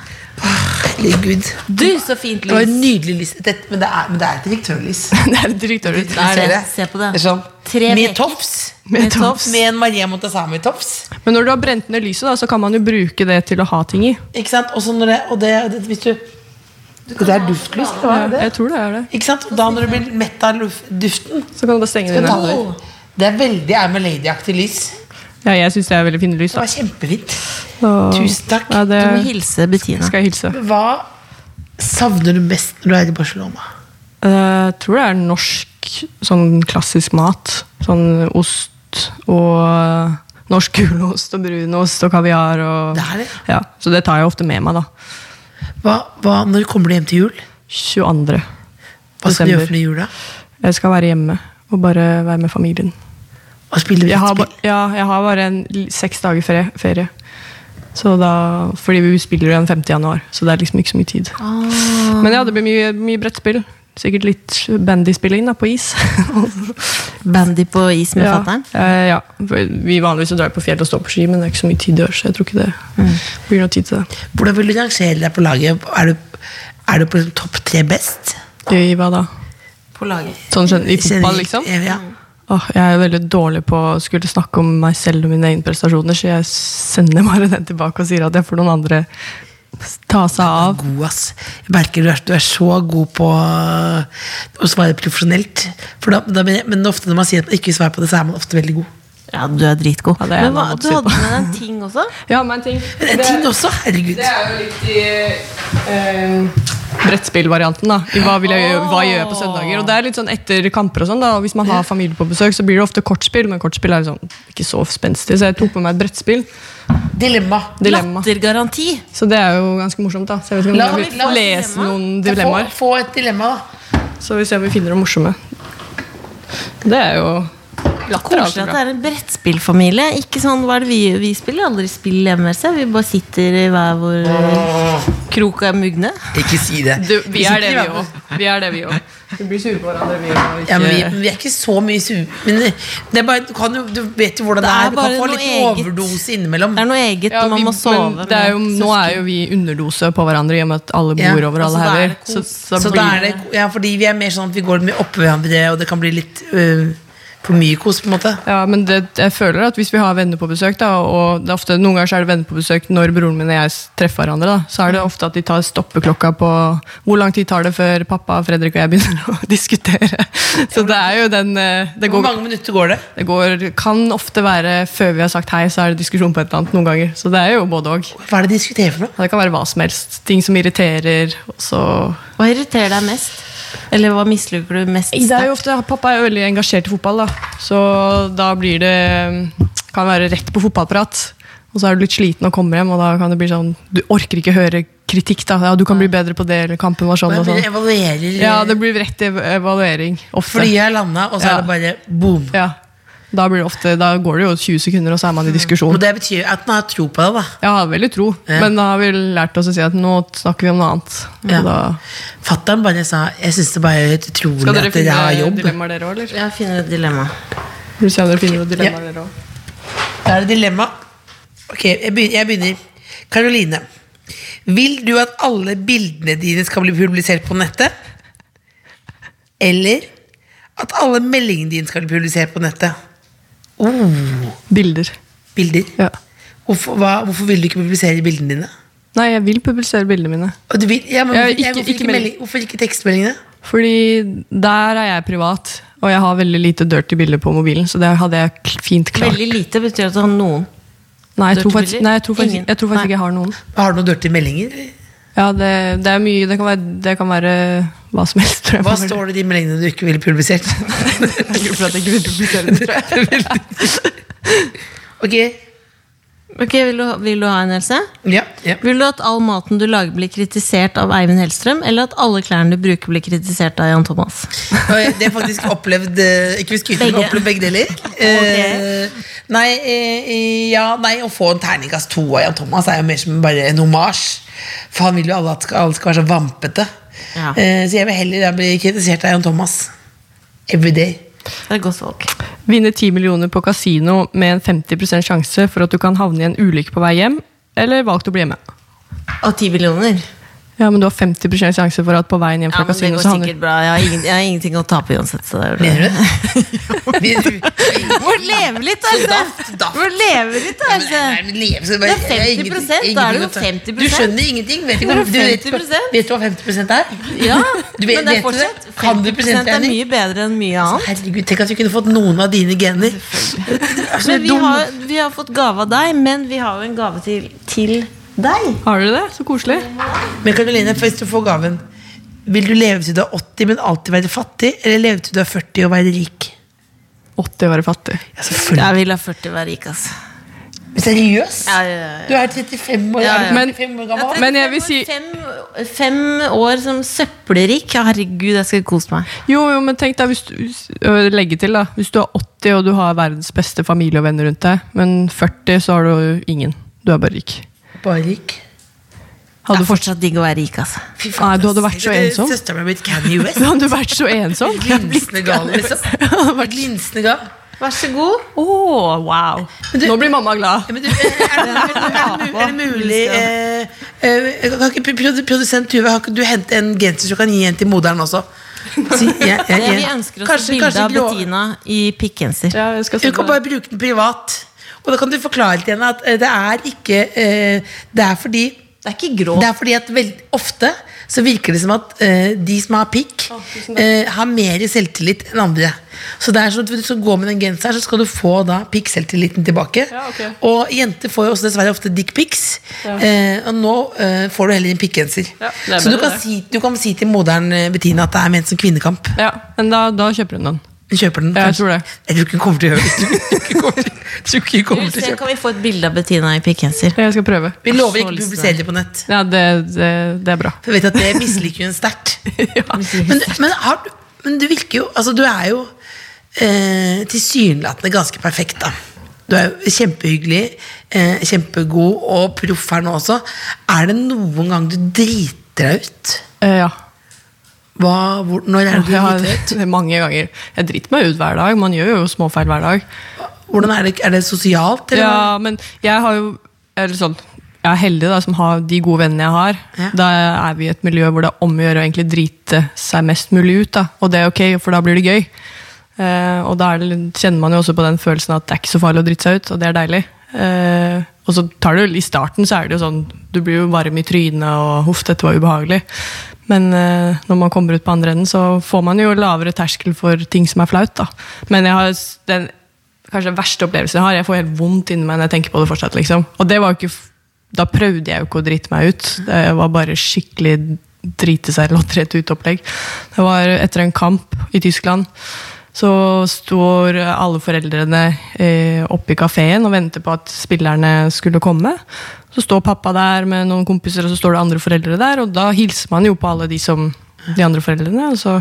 Speaker 2: Herregud.
Speaker 4: Du, så fint
Speaker 2: Det var et
Speaker 4: lys!
Speaker 2: nydelig lys. Dette, men, det er, men det er et direktørlys.
Speaker 5: [LAUGHS] Det er direktøren.
Speaker 2: Det er
Speaker 4: Se-
Speaker 2: det.
Speaker 4: se på det.
Speaker 2: er sånn.
Speaker 4: Tre
Speaker 2: Med
Speaker 4: peker.
Speaker 2: tofs.
Speaker 4: Med tofs.
Speaker 2: Med en Maria Montazami-tofs.
Speaker 5: Men når du har brent ned lyset, da, så kan man jo bruke det til å ha ting i.
Speaker 2: Ikke sant? Og så når det, og det, det Hvis du Det er duftlys, det var det.
Speaker 5: Jeg tror det er det.
Speaker 2: Ikke sant? Og da når du blir mett av luf- duften
Speaker 5: Så kan du bare stenge det
Speaker 2: ta
Speaker 5: ned.
Speaker 2: det ut. Det er veldig I'm a Lady-aktig lys.
Speaker 5: Ja, jeg syns det er veldig fine lys.
Speaker 2: Det
Speaker 5: da.
Speaker 2: var kjempefint.
Speaker 5: Så-
Speaker 2: Tusen takk.
Speaker 5: Ja,
Speaker 4: Du må
Speaker 5: det
Speaker 4: hilse Bettina.
Speaker 5: skal jeg hilse.
Speaker 2: Hva savner du mest når du er i Barcelona?
Speaker 5: Jeg Eh, tror det er norsk, sånn klassisk mat. Sånn ost og eh, norsk gulost og brunost og kaviar og
Speaker 2: Det er det?
Speaker 5: Ja, Så det tar jeg ofte med meg, da.
Speaker 2: Hva, hva, når kommer du hjem til jul?
Speaker 5: 22.
Speaker 2: Hva skal du gjøre
Speaker 5: desember.
Speaker 2: for noe i jula?
Speaker 5: Jeg skal være hjemme og bare være med familien.
Speaker 2: Hva spiller du
Speaker 5: Jeg har,
Speaker 2: brettspill?
Speaker 5: ba- ja, jeg har bare en l- seks dager ferie. ferie. Så da, fordi vi spiller jo den 5. januar, så det er liksom ikke så mye tid.
Speaker 2: Ah.
Speaker 5: Men ja, det blir mye, mye brettspill. Sikkert litt bandyspilling da, på
Speaker 2: [LAUGHS]
Speaker 5: is.
Speaker 4: Bandy på is med fatter'n.
Speaker 5: eh, ja. Vi vanligvis så drar vi på fjell og står på ski, men det er ikke så mye tid i år, så jeg tror ikke det blir noe tid til det.
Speaker 2: Hvordan vil du rangere deg på laget? Er du, er du på liksom topp tre best?
Speaker 5: I hva da?
Speaker 4: På laget.
Speaker 5: Sånn skjønner- I fotball, liksom?
Speaker 2: Ja.
Speaker 5: Åh, jeg er veldig dårlig på å skulle snakke om meg selv og mine egne prestasjoner, så jeg sender bare den tilbake og sier at jeg får noen andre ta seg av.
Speaker 2: god, ass. Jeg merker du er, du er så god på å svare profesjonelt. For da, da, mener jeg- men ofte når man sier at man ikke vil svare på det, så er man ofte veldig god.
Speaker 4: Ja, du er dritgod.
Speaker 5: Ja, det er
Speaker 4: Men
Speaker 5: en
Speaker 4: hva,
Speaker 5: annen måte
Speaker 4: du
Speaker 5: å si
Speaker 4: hadde
Speaker 5: på.
Speaker 4: med deg en ting også?
Speaker 5: Ja, men en ting.
Speaker 2: Men en ting også, herregud.
Speaker 5: det er jo litt i eh, brettspillvarianten, da. I hva, vil jeg, gjøre- hva gjør jeg på søndager? Og det er litt sånn etter kamper og sånn, da. Og hvis man har familie på besøk, så blir det ofte kortspill, men kortspill er sånn ikke så spenstig, så jeg tok med meg et brettspill.
Speaker 2: Dilemma.
Speaker 5: [LAUGHS] Dilemma.
Speaker 4: Lattergaranti!
Speaker 5: Så det er jo ganske morsomt, da. Så jeg vet ikke om
Speaker 2: La-
Speaker 5: jeg vil
Speaker 2: la oss-
Speaker 5: lese noen
Speaker 2: Få,
Speaker 5: dilemmaer.
Speaker 2: få et dilemma, da.
Speaker 5: Så vi ser om vi finner noe morsomme. Det er jo latter. er
Speaker 4: Koselig
Speaker 5: alltid
Speaker 4: at det
Speaker 5: bra.
Speaker 4: er en brettspillfamilie. Ikke sånn, hva er det vi, vi spiller aldri spill hjemme, ser jeg. vi bare sitter i hver vår eh, krok og er mugne.
Speaker 2: Ikke si det.
Speaker 5: Du, vi er det, vi òg. Vi er det, vi òg. Vi blir sure på hverandre, vi òg.
Speaker 2: Ja, men vi, men vi er ikke så mye sure. Men det er bare, du, kan jo, du vet jo hvordan det,
Speaker 4: Det er
Speaker 2: er. Du kan få
Speaker 4: bare noe
Speaker 2: litt
Speaker 4: eget.
Speaker 2: overdose innimellom.
Speaker 4: Det er noe eget, og man må sove.
Speaker 5: det er jo,
Speaker 4: med
Speaker 5: nå er jo vi underdose på hverandre i og med at alle
Speaker 2: Ja,
Speaker 5: bor over
Speaker 4: altså,
Speaker 5: alle
Speaker 4: da er
Speaker 5: hauger.
Speaker 4: det
Speaker 5: Så,
Speaker 4: kos.
Speaker 5: så,
Speaker 2: Så
Speaker 5: blir,
Speaker 2: da er det, ja, fordi vi er mer sånn at vi går mye oppå hverandre, og det kan bli litt øh, På Mykos, på en måte.
Speaker 5: Ja, men det, jeg føler at hvis vi har venner på besøk, da, og det er ofte, noen ganger så er det venner på besøk når broren min og jeg s- treffer hverandre, da, så er det ofte at de tar stoppeklokka på hvor lang tid tar det før pappa, Fredrik og jeg begynner [LAUGHS] å diskutere. Så det er jo den eh, Det
Speaker 2: Hvor
Speaker 5: går,
Speaker 2: mange minutter går det?
Speaker 5: det går, kan ofte være før vi har sagt hei, så er det diskusjon på et eller annet noen ganger. Så det er jo både og.
Speaker 2: Hva er det de diskuterer for noe?
Speaker 5: Det kan være hva som helst. Ting som irriterer. og så
Speaker 4: Hva irriterer deg mest? Eller hva misliker du mest?
Speaker 5: Det er jo
Speaker 4: sterkt?
Speaker 5: ofte, Pappa er jo veldig engasjert i fotball, da. så da blir det kan være rett på fotballprat. Og så er du litt sliten og kommer hjem, og da kan det bli sånn Du orker ikke høre kritikk, da. Ja, du kan bli bedre på det, eller kampen var sånn
Speaker 2: Jeg
Speaker 5: og
Speaker 2: begynner
Speaker 5: sånn.
Speaker 2: å evaluere
Speaker 5: Ja, det blir rett ev- evaluering. Ofte.
Speaker 2: Flyet er landa, og så
Speaker 5: Ja.
Speaker 2: er det bare boom.
Speaker 5: Ja. Da, blir det ofte, da går det jo 20 sekunder, Mm. og så er man i diskusjon.
Speaker 2: Og det betyr at den har tro på deg, da.
Speaker 5: Jeg har veldig tro,
Speaker 2: Ja.
Speaker 5: men da har vi lært oss å si at nå snakker vi om noe annet. Og
Speaker 2: Ja.
Speaker 5: Da,
Speaker 2: Fattern bare sa jeg syns det bare er helt utrolig
Speaker 5: skal dere
Speaker 2: at dere
Speaker 5: finne
Speaker 2: har jobb.
Speaker 5: dilemmaer, dere òg, eller?
Speaker 4: Ja, finner et dilemma.
Speaker 5: Vil du si at dere finner noen dilemmaer, dere også?
Speaker 2: Da er det dilemma. Ok, jeg begynner. Jeg begynner. Caroline. Vil du at alle bildene dine skal bli publisert på nettet? Eller at alle meldingene dine skal bli publisert på nettet?
Speaker 5: Bilder.
Speaker 2: Bilder.
Speaker 5: Uh. Ja.
Speaker 2: Hvorfor, hva, hvorfor vil du ikke publisere bildene dine?
Speaker 5: Nei, jeg vil publisere bildene mine.
Speaker 2: Og du vil, ja, men,
Speaker 5: Ja,
Speaker 2: hvorfor-
Speaker 5: ikke-
Speaker 2: ja, hvorfor,
Speaker 5: ikke
Speaker 2: ikke
Speaker 5: melding.
Speaker 2: melding, hvorfor ikke tekstmeldingene?
Speaker 5: Fordi der er jeg privat, og jeg har veldig lite dirty bilder på mobilen. Så det hadde jeg kl- fint klart.
Speaker 4: Veldig lite betyr at du har noen.
Speaker 5: Nei, jeg tror
Speaker 4: dirty
Speaker 5: faktisk,
Speaker 4: bilder?
Speaker 5: nei, jeg tror faktisk,
Speaker 4: Ingen.
Speaker 5: jeg tror faktisk
Speaker 4: Nei.
Speaker 5: ikke jeg har noen.
Speaker 2: Har du noen dirty meldinger? eller?
Speaker 5: Ja, det, det er mye, det kan være, det kan være hva som helst. Tror jeg,
Speaker 2: Hva står det i de meldingene du ikke ville
Speaker 5: [LAUGHS]
Speaker 2: publisert?
Speaker 5: det for at jeg ikke vil publisere det?
Speaker 2: ok,
Speaker 4: Ok, Vil du, vil du ha en, Else?
Speaker 2: ja, ja.
Speaker 4: Vil du at all maten du lager, blir kritisert av Eivind Hellstrøm, eller at alle klærne du bruker, blir kritisert av Jan Thomas?
Speaker 2: Og jeg- Det har jeg faktisk opplevd eh, Ikke hvis kvitter, men
Speaker 4: Begge.
Speaker 2: opplevd begge
Speaker 4: [LAUGHS]
Speaker 2: deler. Eh, nei, eh, ja, nei, å få en terningkast to av Jan Thomas er jo mer som bare en homasj. For han vil jo alle at skal- alle skal være så vampete.
Speaker 4: Ja.
Speaker 2: Eh, så jeg vil heller da bli kritisert av Jan Thomas. Every day.
Speaker 4: Det er et godt valg.
Speaker 5: [LAUGHS] Vinne 10 millioner på kasino med en 50 sjanse for at du kan havne i en ulykke på vei hjem, eller valgt å bli hjemme.
Speaker 4: Og ti millioner.
Speaker 5: Ja, men du har 50 sjanse for at på veien hjem
Speaker 4: Ja,
Speaker 5: fra
Speaker 4: men det
Speaker 5: kasino
Speaker 4: går
Speaker 5: så havner
Speaker 4: sikkert bra. Jeg har, ingen, jeg har ingenting å tape uansett. Så det er
Speaker 2: Mener du
Speaker 4: jo-
Speaker 2: det?
Speaker 4: [LAUGHS]
Speaker 2: Vi- vi-
Speaker 4: Hvor leve litt, altså!
Speaker 2: Daft, daft.
Speaker 4: Hvor leve litt,
Speaker 2: Nei, nei,
Speaker 4: altså!
Speaker 2: men leve, så
Speaker 4: Det er
Speaker 2: bare- jeg har
Speaker 4: 50%,
Speaker 2: ingenting-
Speaker 4: da er det jo
Speaker 2: ingenting å ta.
Speaker 4: 50%.
Speaker 2: Du skjønner ingenting. Vet, ikke
Speaker 4: Det er
Speaker 2: hva- du vet,
Speaker 4: 50%.
Speaker 2: vet du hva 50 er?
Speaker 4: Ja,
Speaker 2: Du vet-
Speaker 4: men det er
Speaker 2: vet du det?
Speaker 4: fortsatt
Speaker 2: Kan du
Speaker 4: 50 er
Speaker 2: prosentregning?
Speaker 4: mye bedre enn mye annet.
Speaker 2: Herregud, Tenk at vi kunne fått noen av dine gener. Så
Speaker 4: Men vi
Speaker 2: dum.
Speaker 4: har, vi har fått gave av deg, men vi har jo en gave til, til deg.
Speaker 5: Har dere det? Så koselig.
Speaker 2: Men Karoline, hvis du får gaven, vil du leve til du er 80, men alltid være fattig? Eller leve til du er 40 og være rik?
Speaker 5: 80 å være fattig.
Speaker 2: Ja, selvfølgelig.
Speaker 4: Jeg vil ha 40 hver rik, altså.
Speaker 2: Seriøst?
Speaker 4: Ja, ja, ja.
Speaker 2: Du er 35 år,
Speaker 4: Ja, ja.
Speaker 2: er du
Speaker 5: Men-
Speaker 2: 35 år gammel.
Speaker 5: Men jeg vil si-
Speaker 4: Fem, fem år som søppelrik. Ja, Herregud, jeg skal kose meg.
Speaker 5: Jo, jo, men tenk da, hvis du, hvis- ø, legge til da, hvis du er 80 og du har verdens beste familie og venner rundt deg, men 40 så har du ingen. Du er bare rik.
Speaker 2: Bare rik.
Speaker 5: Hadde
Speaker 4: det
Speaker 5: du
Speaker 4: er fortsatt digg å være rik, altså.
Speaker 2: Fy
Speaker 5: Nei, du hadde vært så ensom.
Speaker 2: Søsteren min har blitt Kanye West.
Speaker 5: fortsatt- hadde du vært [LAUGHS] så [LAUGHS] ensom?
Speaker 2: Linsende gal, liksom. Vært linsende gal.
Speaker 4: Vær så god.
Speaker 5: Åh, wow. Nå blir mamma glad.
Speaker 2: Ja, men du, er, er, det- er, det mu- er det mulig eh, eh, Kan ikke produ- produsent Tuve Har ikke du hente en genser så du kan gi en til moderen også? Si, ja, ja,
Speaker 4: Det vi
Speaker 2: ja.
Speaker 4: ønsker oss
Speaker 2: Kanskje-
Speaker 4: et bilde
Speaker 2: kanskje
Speaker 4: av
Speaker 2: grå-
Speaker 4: Bettina i pikkgenser.
Speaker 5: Ja, jeg skal
Speaker 2: Du
Speaker 5: si
Speaker 2: kan
Speaker 5: det.
Speaker 2: bare bruke den privat. Og da kan du forklare til henne at eh, det er ikke eh, Det er fordi
Speaker 4: Det er ikke grå.
Speaker 2: det er fordi at veld, ofte så virker det som at eh, de som har pikk, eh, har mer selvtillit enn andre. Så det er sånn at hvis du skal gå med den genseren, så skal du få da pikkselvtilliten tilbake.
Speaker 5: Ja, ok.
Speaker 2: Og jenter får jo også dessverre ofte dickpics. Eh, og nå eh, får du heller en pikkgenser.
Speaker 5: det er
Speaker 2: så du
Speaker 5: bedre
Speaker 2: kan,
Speaker 5: det.
Speaker 2: si, du kan si til moderen eh, Bettina at det er ment som kvinnekamp.
Speaker 5: Ja, men da, da kjøper hun den.
Speaker 2: Hun kjøper den.
Speaker 5: Ja, jeg
Speaker 2: kanskje.
Speaker 5: tror det.
Speaker 2: Jeg tror ikke hun kommer til å gjøre det. Jeg tror ikke hun kommer til- jeg tror ikke hun kommer til å
Speaker 4: Se,
Speaker 2: kjøpe
Speaker 4: kan vi få et bilde av Bettina i pikkgenser?
Speaker 5: Jeg skal prøve.
Speaker 2: Vi lover ikke å
Speaker 4: Så lyst til
Speaker 2: publisere det på nett.
Speaker 5: Ja, det, det, det er bra.
Speaker 2: For jeg vet at det misliker hun
Speaker 5: [LAUGHS]
Speaker 2: sterkt. Men, men, har, du- men du virker jo Altså, du er jo eh, tilsynelatende ganske perfekt, da. Du er jo kjempehyggelig, eh, kjempegod og proff her nå også. Er det noen gang du driter deg ut?
Speaker 5: Eh, ja.
Speaker 2: Hva, hvor, når er det du
Speaker 5: Jeg har,
Speaker 2: driter deg ut?
Speaker 5: [LAUGHS] mange ganger. Jeg driter meg ut hver dag. Man gjør jo småfeil hver dag.
Speaker 2: Hvordan er det, er det sosialt? Eller?
Speaker 5: Ja, men jeg har jo eller sånn, Jeg er heldig da, som har de gode vennene jeg har.
Speaker 2: Ja.
Speaker 5: Da er vi i et miljø hvor det er om å gjøre å egentlig drite seg mest mulig ut. da. Og det er ok, for da blir det gøy. Eh, og da er det, kjenner man jo også på den følelsen at det er ikke så farlig å drite seg ut, og det er deilig. Eh, og så tar det jo, I starten så er det jo sånn, du blir jo varm i trynet og 'huff, dette var ubehagelig'. Men eh, når man kommer ut på andre enden, så får man jo lavere terskel for ting som er flaut. da. Men jeg har s- den kanskje den verste opplevelsen jeg har, jeg får helt vondt inni meg når jeg tenker på det fortsatt. liksom. Og det var jo ikke, f- Da prøvde jeg jo ikke å drite meg ut. Det var bare skikkelig drite seg lodrett ut-opplegg. Det var etter en kamp i Tyskland. Så står alle foreldrene eh, oppe i kafeen og venter på at spillerne skulle komme. Så står pappa der med noen kompiser, og så står det andre foreldre der. Og da hilser man jo på alle de som de andre foreldrene. Og så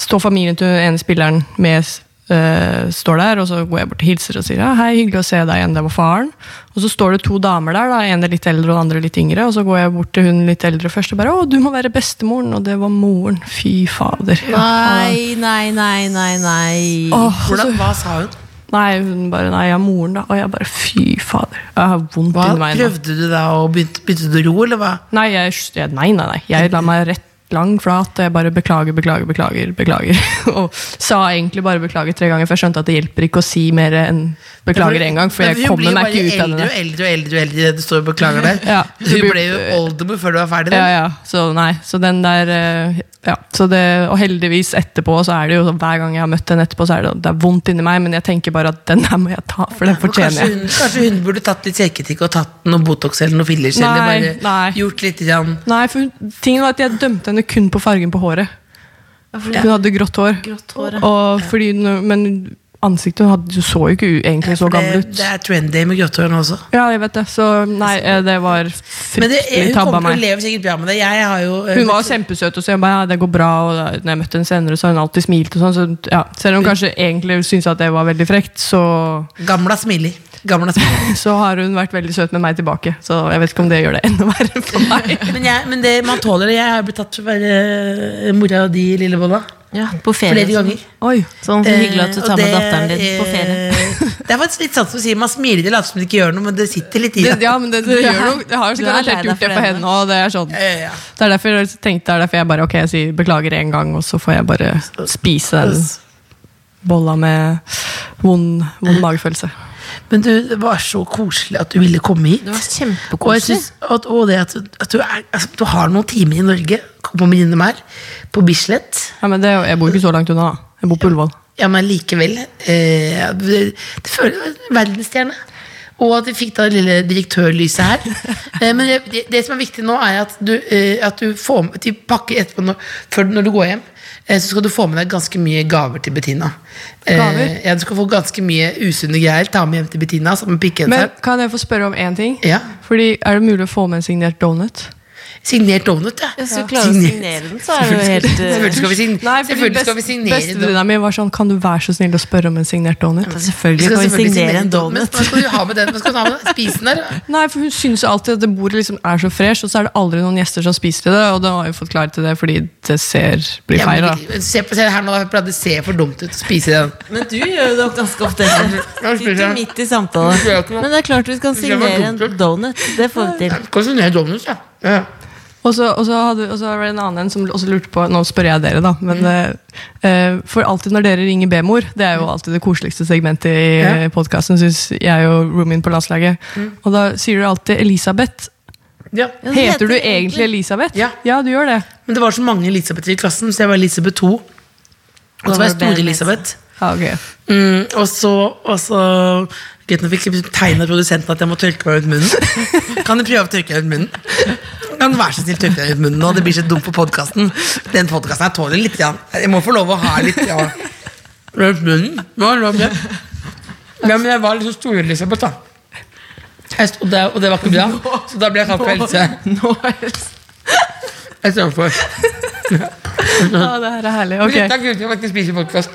Speaker 5: står familien til den ene spilleren med eh, står der, og så går jeg bort og hilser og sier ja, hei, hyggelig å se deg igjen, det var faren. Og så står det to damer der, da, en er litt eldre og den andre litt yngre, og så går jeg bort til hun litt eldre først og bare å, du må være bestemoren, og det var moren. Fy fader.
Speaker 4: Nei, nei, nei, nei, nei.
Speaker 5: Åh, og så
Speaker 2: Hvordan, hva sa hun?
Speaker 5: Nei, hun bare Nei, jeg er moren, da. Og jeg bare Fy fader. Jeg har vondt
Speaker 2: Hva,
Speaker 5: inni meg. nå.
Speaker 2: prøvde du da å begynte, begynte du å ro, eller hva?
Speaker 5: Nei, jeg, jeg, nei, nei, nei. Jeg la meg rett lang flat, og jeg bare beklager, beklager, beklager. beklager. [LAUGHS] og sa egentlig bare beklager tre ganger, for jeg skjønte at det hjelper ikke å si mer enn beklager én gang, for
Speaker 2: Men
Speaker 5: jeg
Speaker 2: hun blir
Speaker 5: kommer
Speaker 2: jo
Speaker 5: meg
Speaker 2: bare
Speaker 5: ikke ut av
Speaker 2: eldre
Speaker 5: det.
Speaker 2: og eldre og eldre og eldre i det du står og
Speaker 5: [LAUGHS]
Speaker 2: beklager der.
Speaker 5: Ja,
Speaker 2: du
Speaker 5: du blir-
Speaker 2: ble jo oldemor før du var ferdig.
Speaker 5: Ja,
Speaker 2: da.
Speaker 5: ja. Så nei, så den der eh, ja, så det, Og heldigvis etterpå, så er det jo sånn hver gang jeg har møtt henne etterpå, så er det, det er vondt inni meg, men jeg tenker bare at den her må jeg ta, for
Speaker 2: Men
Speaker 5: den fortjener
Speaker 2: Kanskje
Speaker 5: jeg.
Speaker 2: hun, kanskje hun burde tatt litt kjelketikk og tatt noe Botox eller noe fillers?
Speaker 5: Nei,
Speaker 2: eller bare
Speaker 5: nei.
Speaker 2: gjort litt grann.
Speaker 5: Nei, for hun- tingen var at jeg dømte henne kun på fargen på håret. Hun hadde grått hår.
Speaker 4: Grått hår, ja.
Speaker 5: og fordi, hun- men ansiktet hun hadde, du så jo ikke u- egentlig så gammel
Speaker 2: det,
Speaker 5: ut.
Speaker 2: det er trendy med grått hår nå også.
Speaker 5: Ja, jeg vet det. Så nei, eh, det var
Speaker 2: Men det,
Speaker 5: fryktelig
Speaker 2: hun
Speaker 5: tabba
Speaker 2: kommer til å
Speaker 5: meg.
Speaker 2: leve sikkert bra med det. Jeg har jo eh,
Speaker 5: Hun var kjempesøt, og så jeg bare, ja, det går bra. Og da når jeg møtte henne senere, så har hun alltid smilt. og sånn, så ja, Selv om hun kanskje egentlig syntes at det var veldig frekt, så,
Speaker 2: Gamla smiler. Gamla
Speaker 5: [LAUGHS]
Speaker 2: smiler.
Speaker 5: så har hun vært veldig søt med meg tilbake. Så jeg vet ikke om det gjør det enda verre
Speaker 4: [LAUGHS]
Speaker 5: for meg.
Speaker 2: Men, jeg, men det, man tåler det. Jeg har blitt tatt for å være eh, mora og de i Lillebolla
Speaker 4: Ja, på ferie.
Speaker 2: flere ganger.
Speaker 5: Oi,
Speaker 4: Sånn
Speaker 2: Eh,
Speaker 4: hyggelig at du tar
Speaker 2: og
Speaker 4: med
Speaker 2: det
Speaker 4: datteren din på
Speaker 2: er-
Speaker 4: ferie.
Speaker 2: det er faktisk litt sånn som sier man smiler og later som det ikke gjør noe, men det sitter litt i
Speaker 5: det,
Speaker 2: deg.
Speaker 5: ja, men det, det, gjør noe. Det har
Speaker 4: Du er lei
Speaker 5: garantert
Speaker 4: deg
Speaker 5: gjort det
Speaker 4: for
Speaker 5: for
Speaker 4: henne.
Speaker 5: henne òg. Det er sånn.
Speaker 2: Eh, Ja, ja.
Speaker 5: Det er derfor jeg tenkte, det er derfor jeg bare ok, jeg sier beklager én gang, og så får jeg bare spise den bolla med vond, vond magefølelse.
Speaker 2: Men du, det var så koselig at du ville komme hit.
Speaker 4: Det var
Speaker 2: Og, jeg
Speaker 4: kjempekoselig.
Speaker 2: synes at, og det at, du- at du, er, altså, du har noen timer i Norge, kom og minne meg, på Bislett.
Speaker 5: Ja, men det, er jo- jeg bor ikke så langt unna. da. Jeg bor på Ullevål.
Speaker 2: Ja, men likevel. Eh, det, det føles verdensstjerne. Og at vi fikk da det lille direktørlyset
Speaker 4: [LAUGHS]
Speaker 2: her. Eh, men det- det, det som er viktig nå, er at du, eh, at du får med til pakke etterpå når, før, når du går hjem. eh, Så skal du få med deg ganske mye gaver til Bettina. Eh,
Speaker 5: Gaver?
Speaker 2: Ja, Du skal få ganske mye usunne greier. Ta med hjem til Bettina sammen med
Speaker 5: Men
Speaker 2: pikkenseren.
Speaker 5: kan jeg få spørre om én ting?
Speaker 2: Ja.
Speaker 5: Fordi Er det mulig å få med en signert donut?
Speaker 2: Signert donut, ja.
Speaker 4: Hvis du klarer å
Speaker 2: Signer-
Speaker 4: signere den, så er det jo helt eh,
Speaker 2: Selvfølgelig skal vi, sign selvfølgelig skal vi signere donut.
Speaker 5: Bestevenninna mi var sånn Kan du være så snill å spørre om en signert donut?
Speaker 4: Selvfølgelig
Speaker 2: skal
Speaker 4: kan vi
Speaker 2: selvfølgelig
Speaker 4: signere en
Speaker 2: Men
Speaker 4: donut.
Speaker 2: hva skal du ha med den? Hva skal du ha med den? Spise den der?
Speaker 5: Nei, for Hun syns alltid at det bordet liksom er så fresh, og så er det aldri noen gjester som spiser det. Og da har jeg fått klar til det fordi det ser blir
Speaker 2: Ja, men
Speaker 5: feil. da
Speaker 2: ikke- Se på se her nå, da. det ser for dumt ut å spise den.
Speaker 4: Men du gjør jo det ganske ofte.
Speaker 2: Ja, spiser
Speaker 4: Sitter
Speaker 2: jeg.
Speaker 4: midt i samtalen.
Speaker 2: Spiser jeg ikke noe?
Speaker 4: Men det er klart vi kan
Speaker 2: jeg var
Speaker 4: signere en
Speaker 2: dumt,
Speaker 4: donut. Det får vi til.
Speaker 2: Skal du ned Dominus, ja. Ja, ja.
Speaker 5: Og så, og, så hadde, og så var det en annen en som også lurte på Nå spør jeg dere, da.
Speaker 2: Mm.
Speaker 5: Men, eh, eh, for alltid når dere ringer B-mor, det er jo alltid det koseligste segmentet
Speaker 2: Mm.
Speaker 5: i
Speaker 2: Ja. Mm.
Speaker 5: ja. podkasten, syns jeg og roomien på landslaget. Og da sier du alltid Elisabeth.
Speaker 2: Ja.
Speaker 4: Ja, det heter
Speaker 5: Heter du
Speaker 4: det egentlig.
Speaker 5: egentlig Elisabeth?
Speaker 2: Ja.
Speaker 5: du gjør det.
Speaker 2: Men det var så mange Elisabether i klassen, så jeg var Elisabeth 2. Og så var jeg
Speaker 4: Da var det
Speaker 2: store Elisabeth.
Speaker 5: Ja, ok.
Speaker 2: Mm, og så, og så Greit, nå fikk jeg tegn av produsenten at jeg må tørke meg ut munnen. Kan du prøve å tørke deg ut munnen? Kan du være så snill tørke deg ut munnen nå? Det blir så dumt på podkasten. Den podkasten her tåler litt. grann. Jeg må få lov å ha litt ja. Ut munnen? Hva er det med det? Ja, men jeg var liksom store Elisabeth, da. Jeg stod der, og det var ikke bra, så da ble jeg kalt for Else.
Speaker 5: Nå er det
Speaker 2: Istedenfor.
Speaker 5: Ja, det her er herlig. ok.
Speaker 2: Dette er grunnen til at jeg ikke spiser podkast.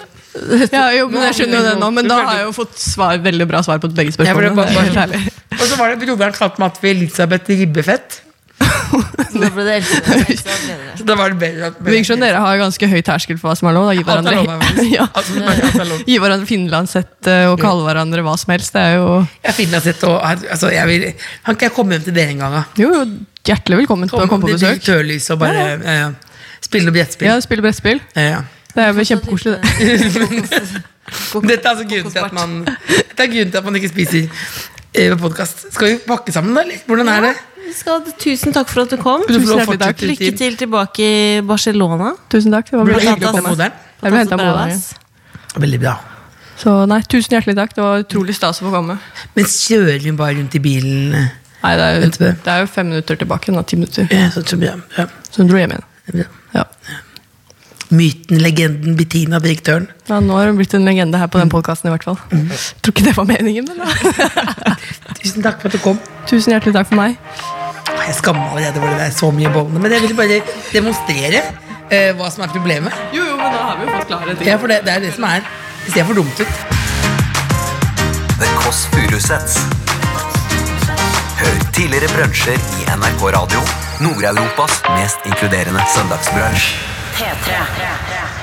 Speaker 5: Ja, jo, men jeg skjønner jo det nå, men da har jeg jo fått svar, veldig bra svar på begge spørsmålene. Det er helt herlig.
Speaker 2: Og så var det broderen kalte meg at vi Elisabeth Ribbefett.
Speaker 4: Da ble det
Speaker 2: [LAUGHS]
Speaker 4: eldste.
Speaker 2: Så da var det bedre at
Speaker 5: Det virker som dere har ganske høy terskel for hva som er lov. Da. Gi
Speaker 2: Alt er lov,
Speaker 5: hverandre, [LAUGHS] ja.
Speaker 2: Alt som er- alt er lov.
Speaker 5: Gi hverandre finlandshette og kalle hverandre hva som helst. Det er jo,
Speaker 2: Jeg finner sett og, altså, jeg vil, Kan ikke jeg komme hjem til dere en gang, da?
Speaker 5: jo jo, hjertelig velkommen til å komme på
Speaker 2: til
Speaker 5: besøk.
Speaker 2: direktørlyset og bare
Speaker 5: Ja,
Speaker 2: eh, spille noe brettspill.
Speaker 5: Ja, spille brettspill.
Speaker 2: Eh, ja.
Speaker 5: Det er jo kjempekoselig, det.
Speaker 2: Dette er altså grunnen til at man Dette er grunnen til at man ikke spiser eh, på podkast. Skal vi pakke sammen, da? eller? Hvordan er det?
Speaker 4: Vi skal, tusen takk for at du kom.
Speaker 2: Du får lov å
Speaker 5: hjertelig takk.
Speaker 2: fortsette
Speaker 4: Lykke
Speaker 2: litt til.
Speaker 4: til tilbake i Barcelona.
Speaker 5: Tusen takk. Det var
Speaker 2: Det
Speaker 5: veldig
Speaker 2: var hyggelig å
Speaker 5: hyggelig å
Speaker 2: komme
Speaker 5: komme.
Speaker 2: moderen.
Speaker 5: Jeg ble hentet av moderen igjen.
Speaker 4: Fantastisk bra,
Speaker 2: Veldig bra.
Speaker 5: Så nei, tusen hjertelig takk. Det var utrolig stas å få komme.
Speaker 2: Men kjører hun bare rundt i bilen?
Speaker 5: Nei, det er,
Speaker 2: Vent på
Speaker 5: jo,
Speaker 2: det.
Speaker 5: det er jo fem minutter tilbake. Nå, ti minutter.
Speaker 2: Ja, så, så, bra, bra,
Speaker 5: Så hun dro hjem igjen.
Speaker 2: bra.
Speaker 5: Ja.
Speaker 2: Myten, legenden, Bettina, direktøren.
Speaker 5: Ja, nå har hun blitt en legende her på den podkasten i hvert fall. Tror ikke det var meningen, men da.
Speaker 2: Tusen takk for at du kom.
Speaker 5: Tusen hjertelig takk for meg.
Speaker 2: Jeg skammer meg allerede over det der, så mye bånd. Men jeg ville bare demonstrere eh, hva som er problemet.
Speaker 5: Jo, jo, men da har vi jo fått klare
Speaker 2: Ja, for det, det er det som er. Det ser for dumt ut.
Speaker 3: The Kåss Furuseths. Hør tidligere brunsjer i NRK Radio. Nord-Europas mest inkluderende søndagsbrunsj.
Speaker 8: P3.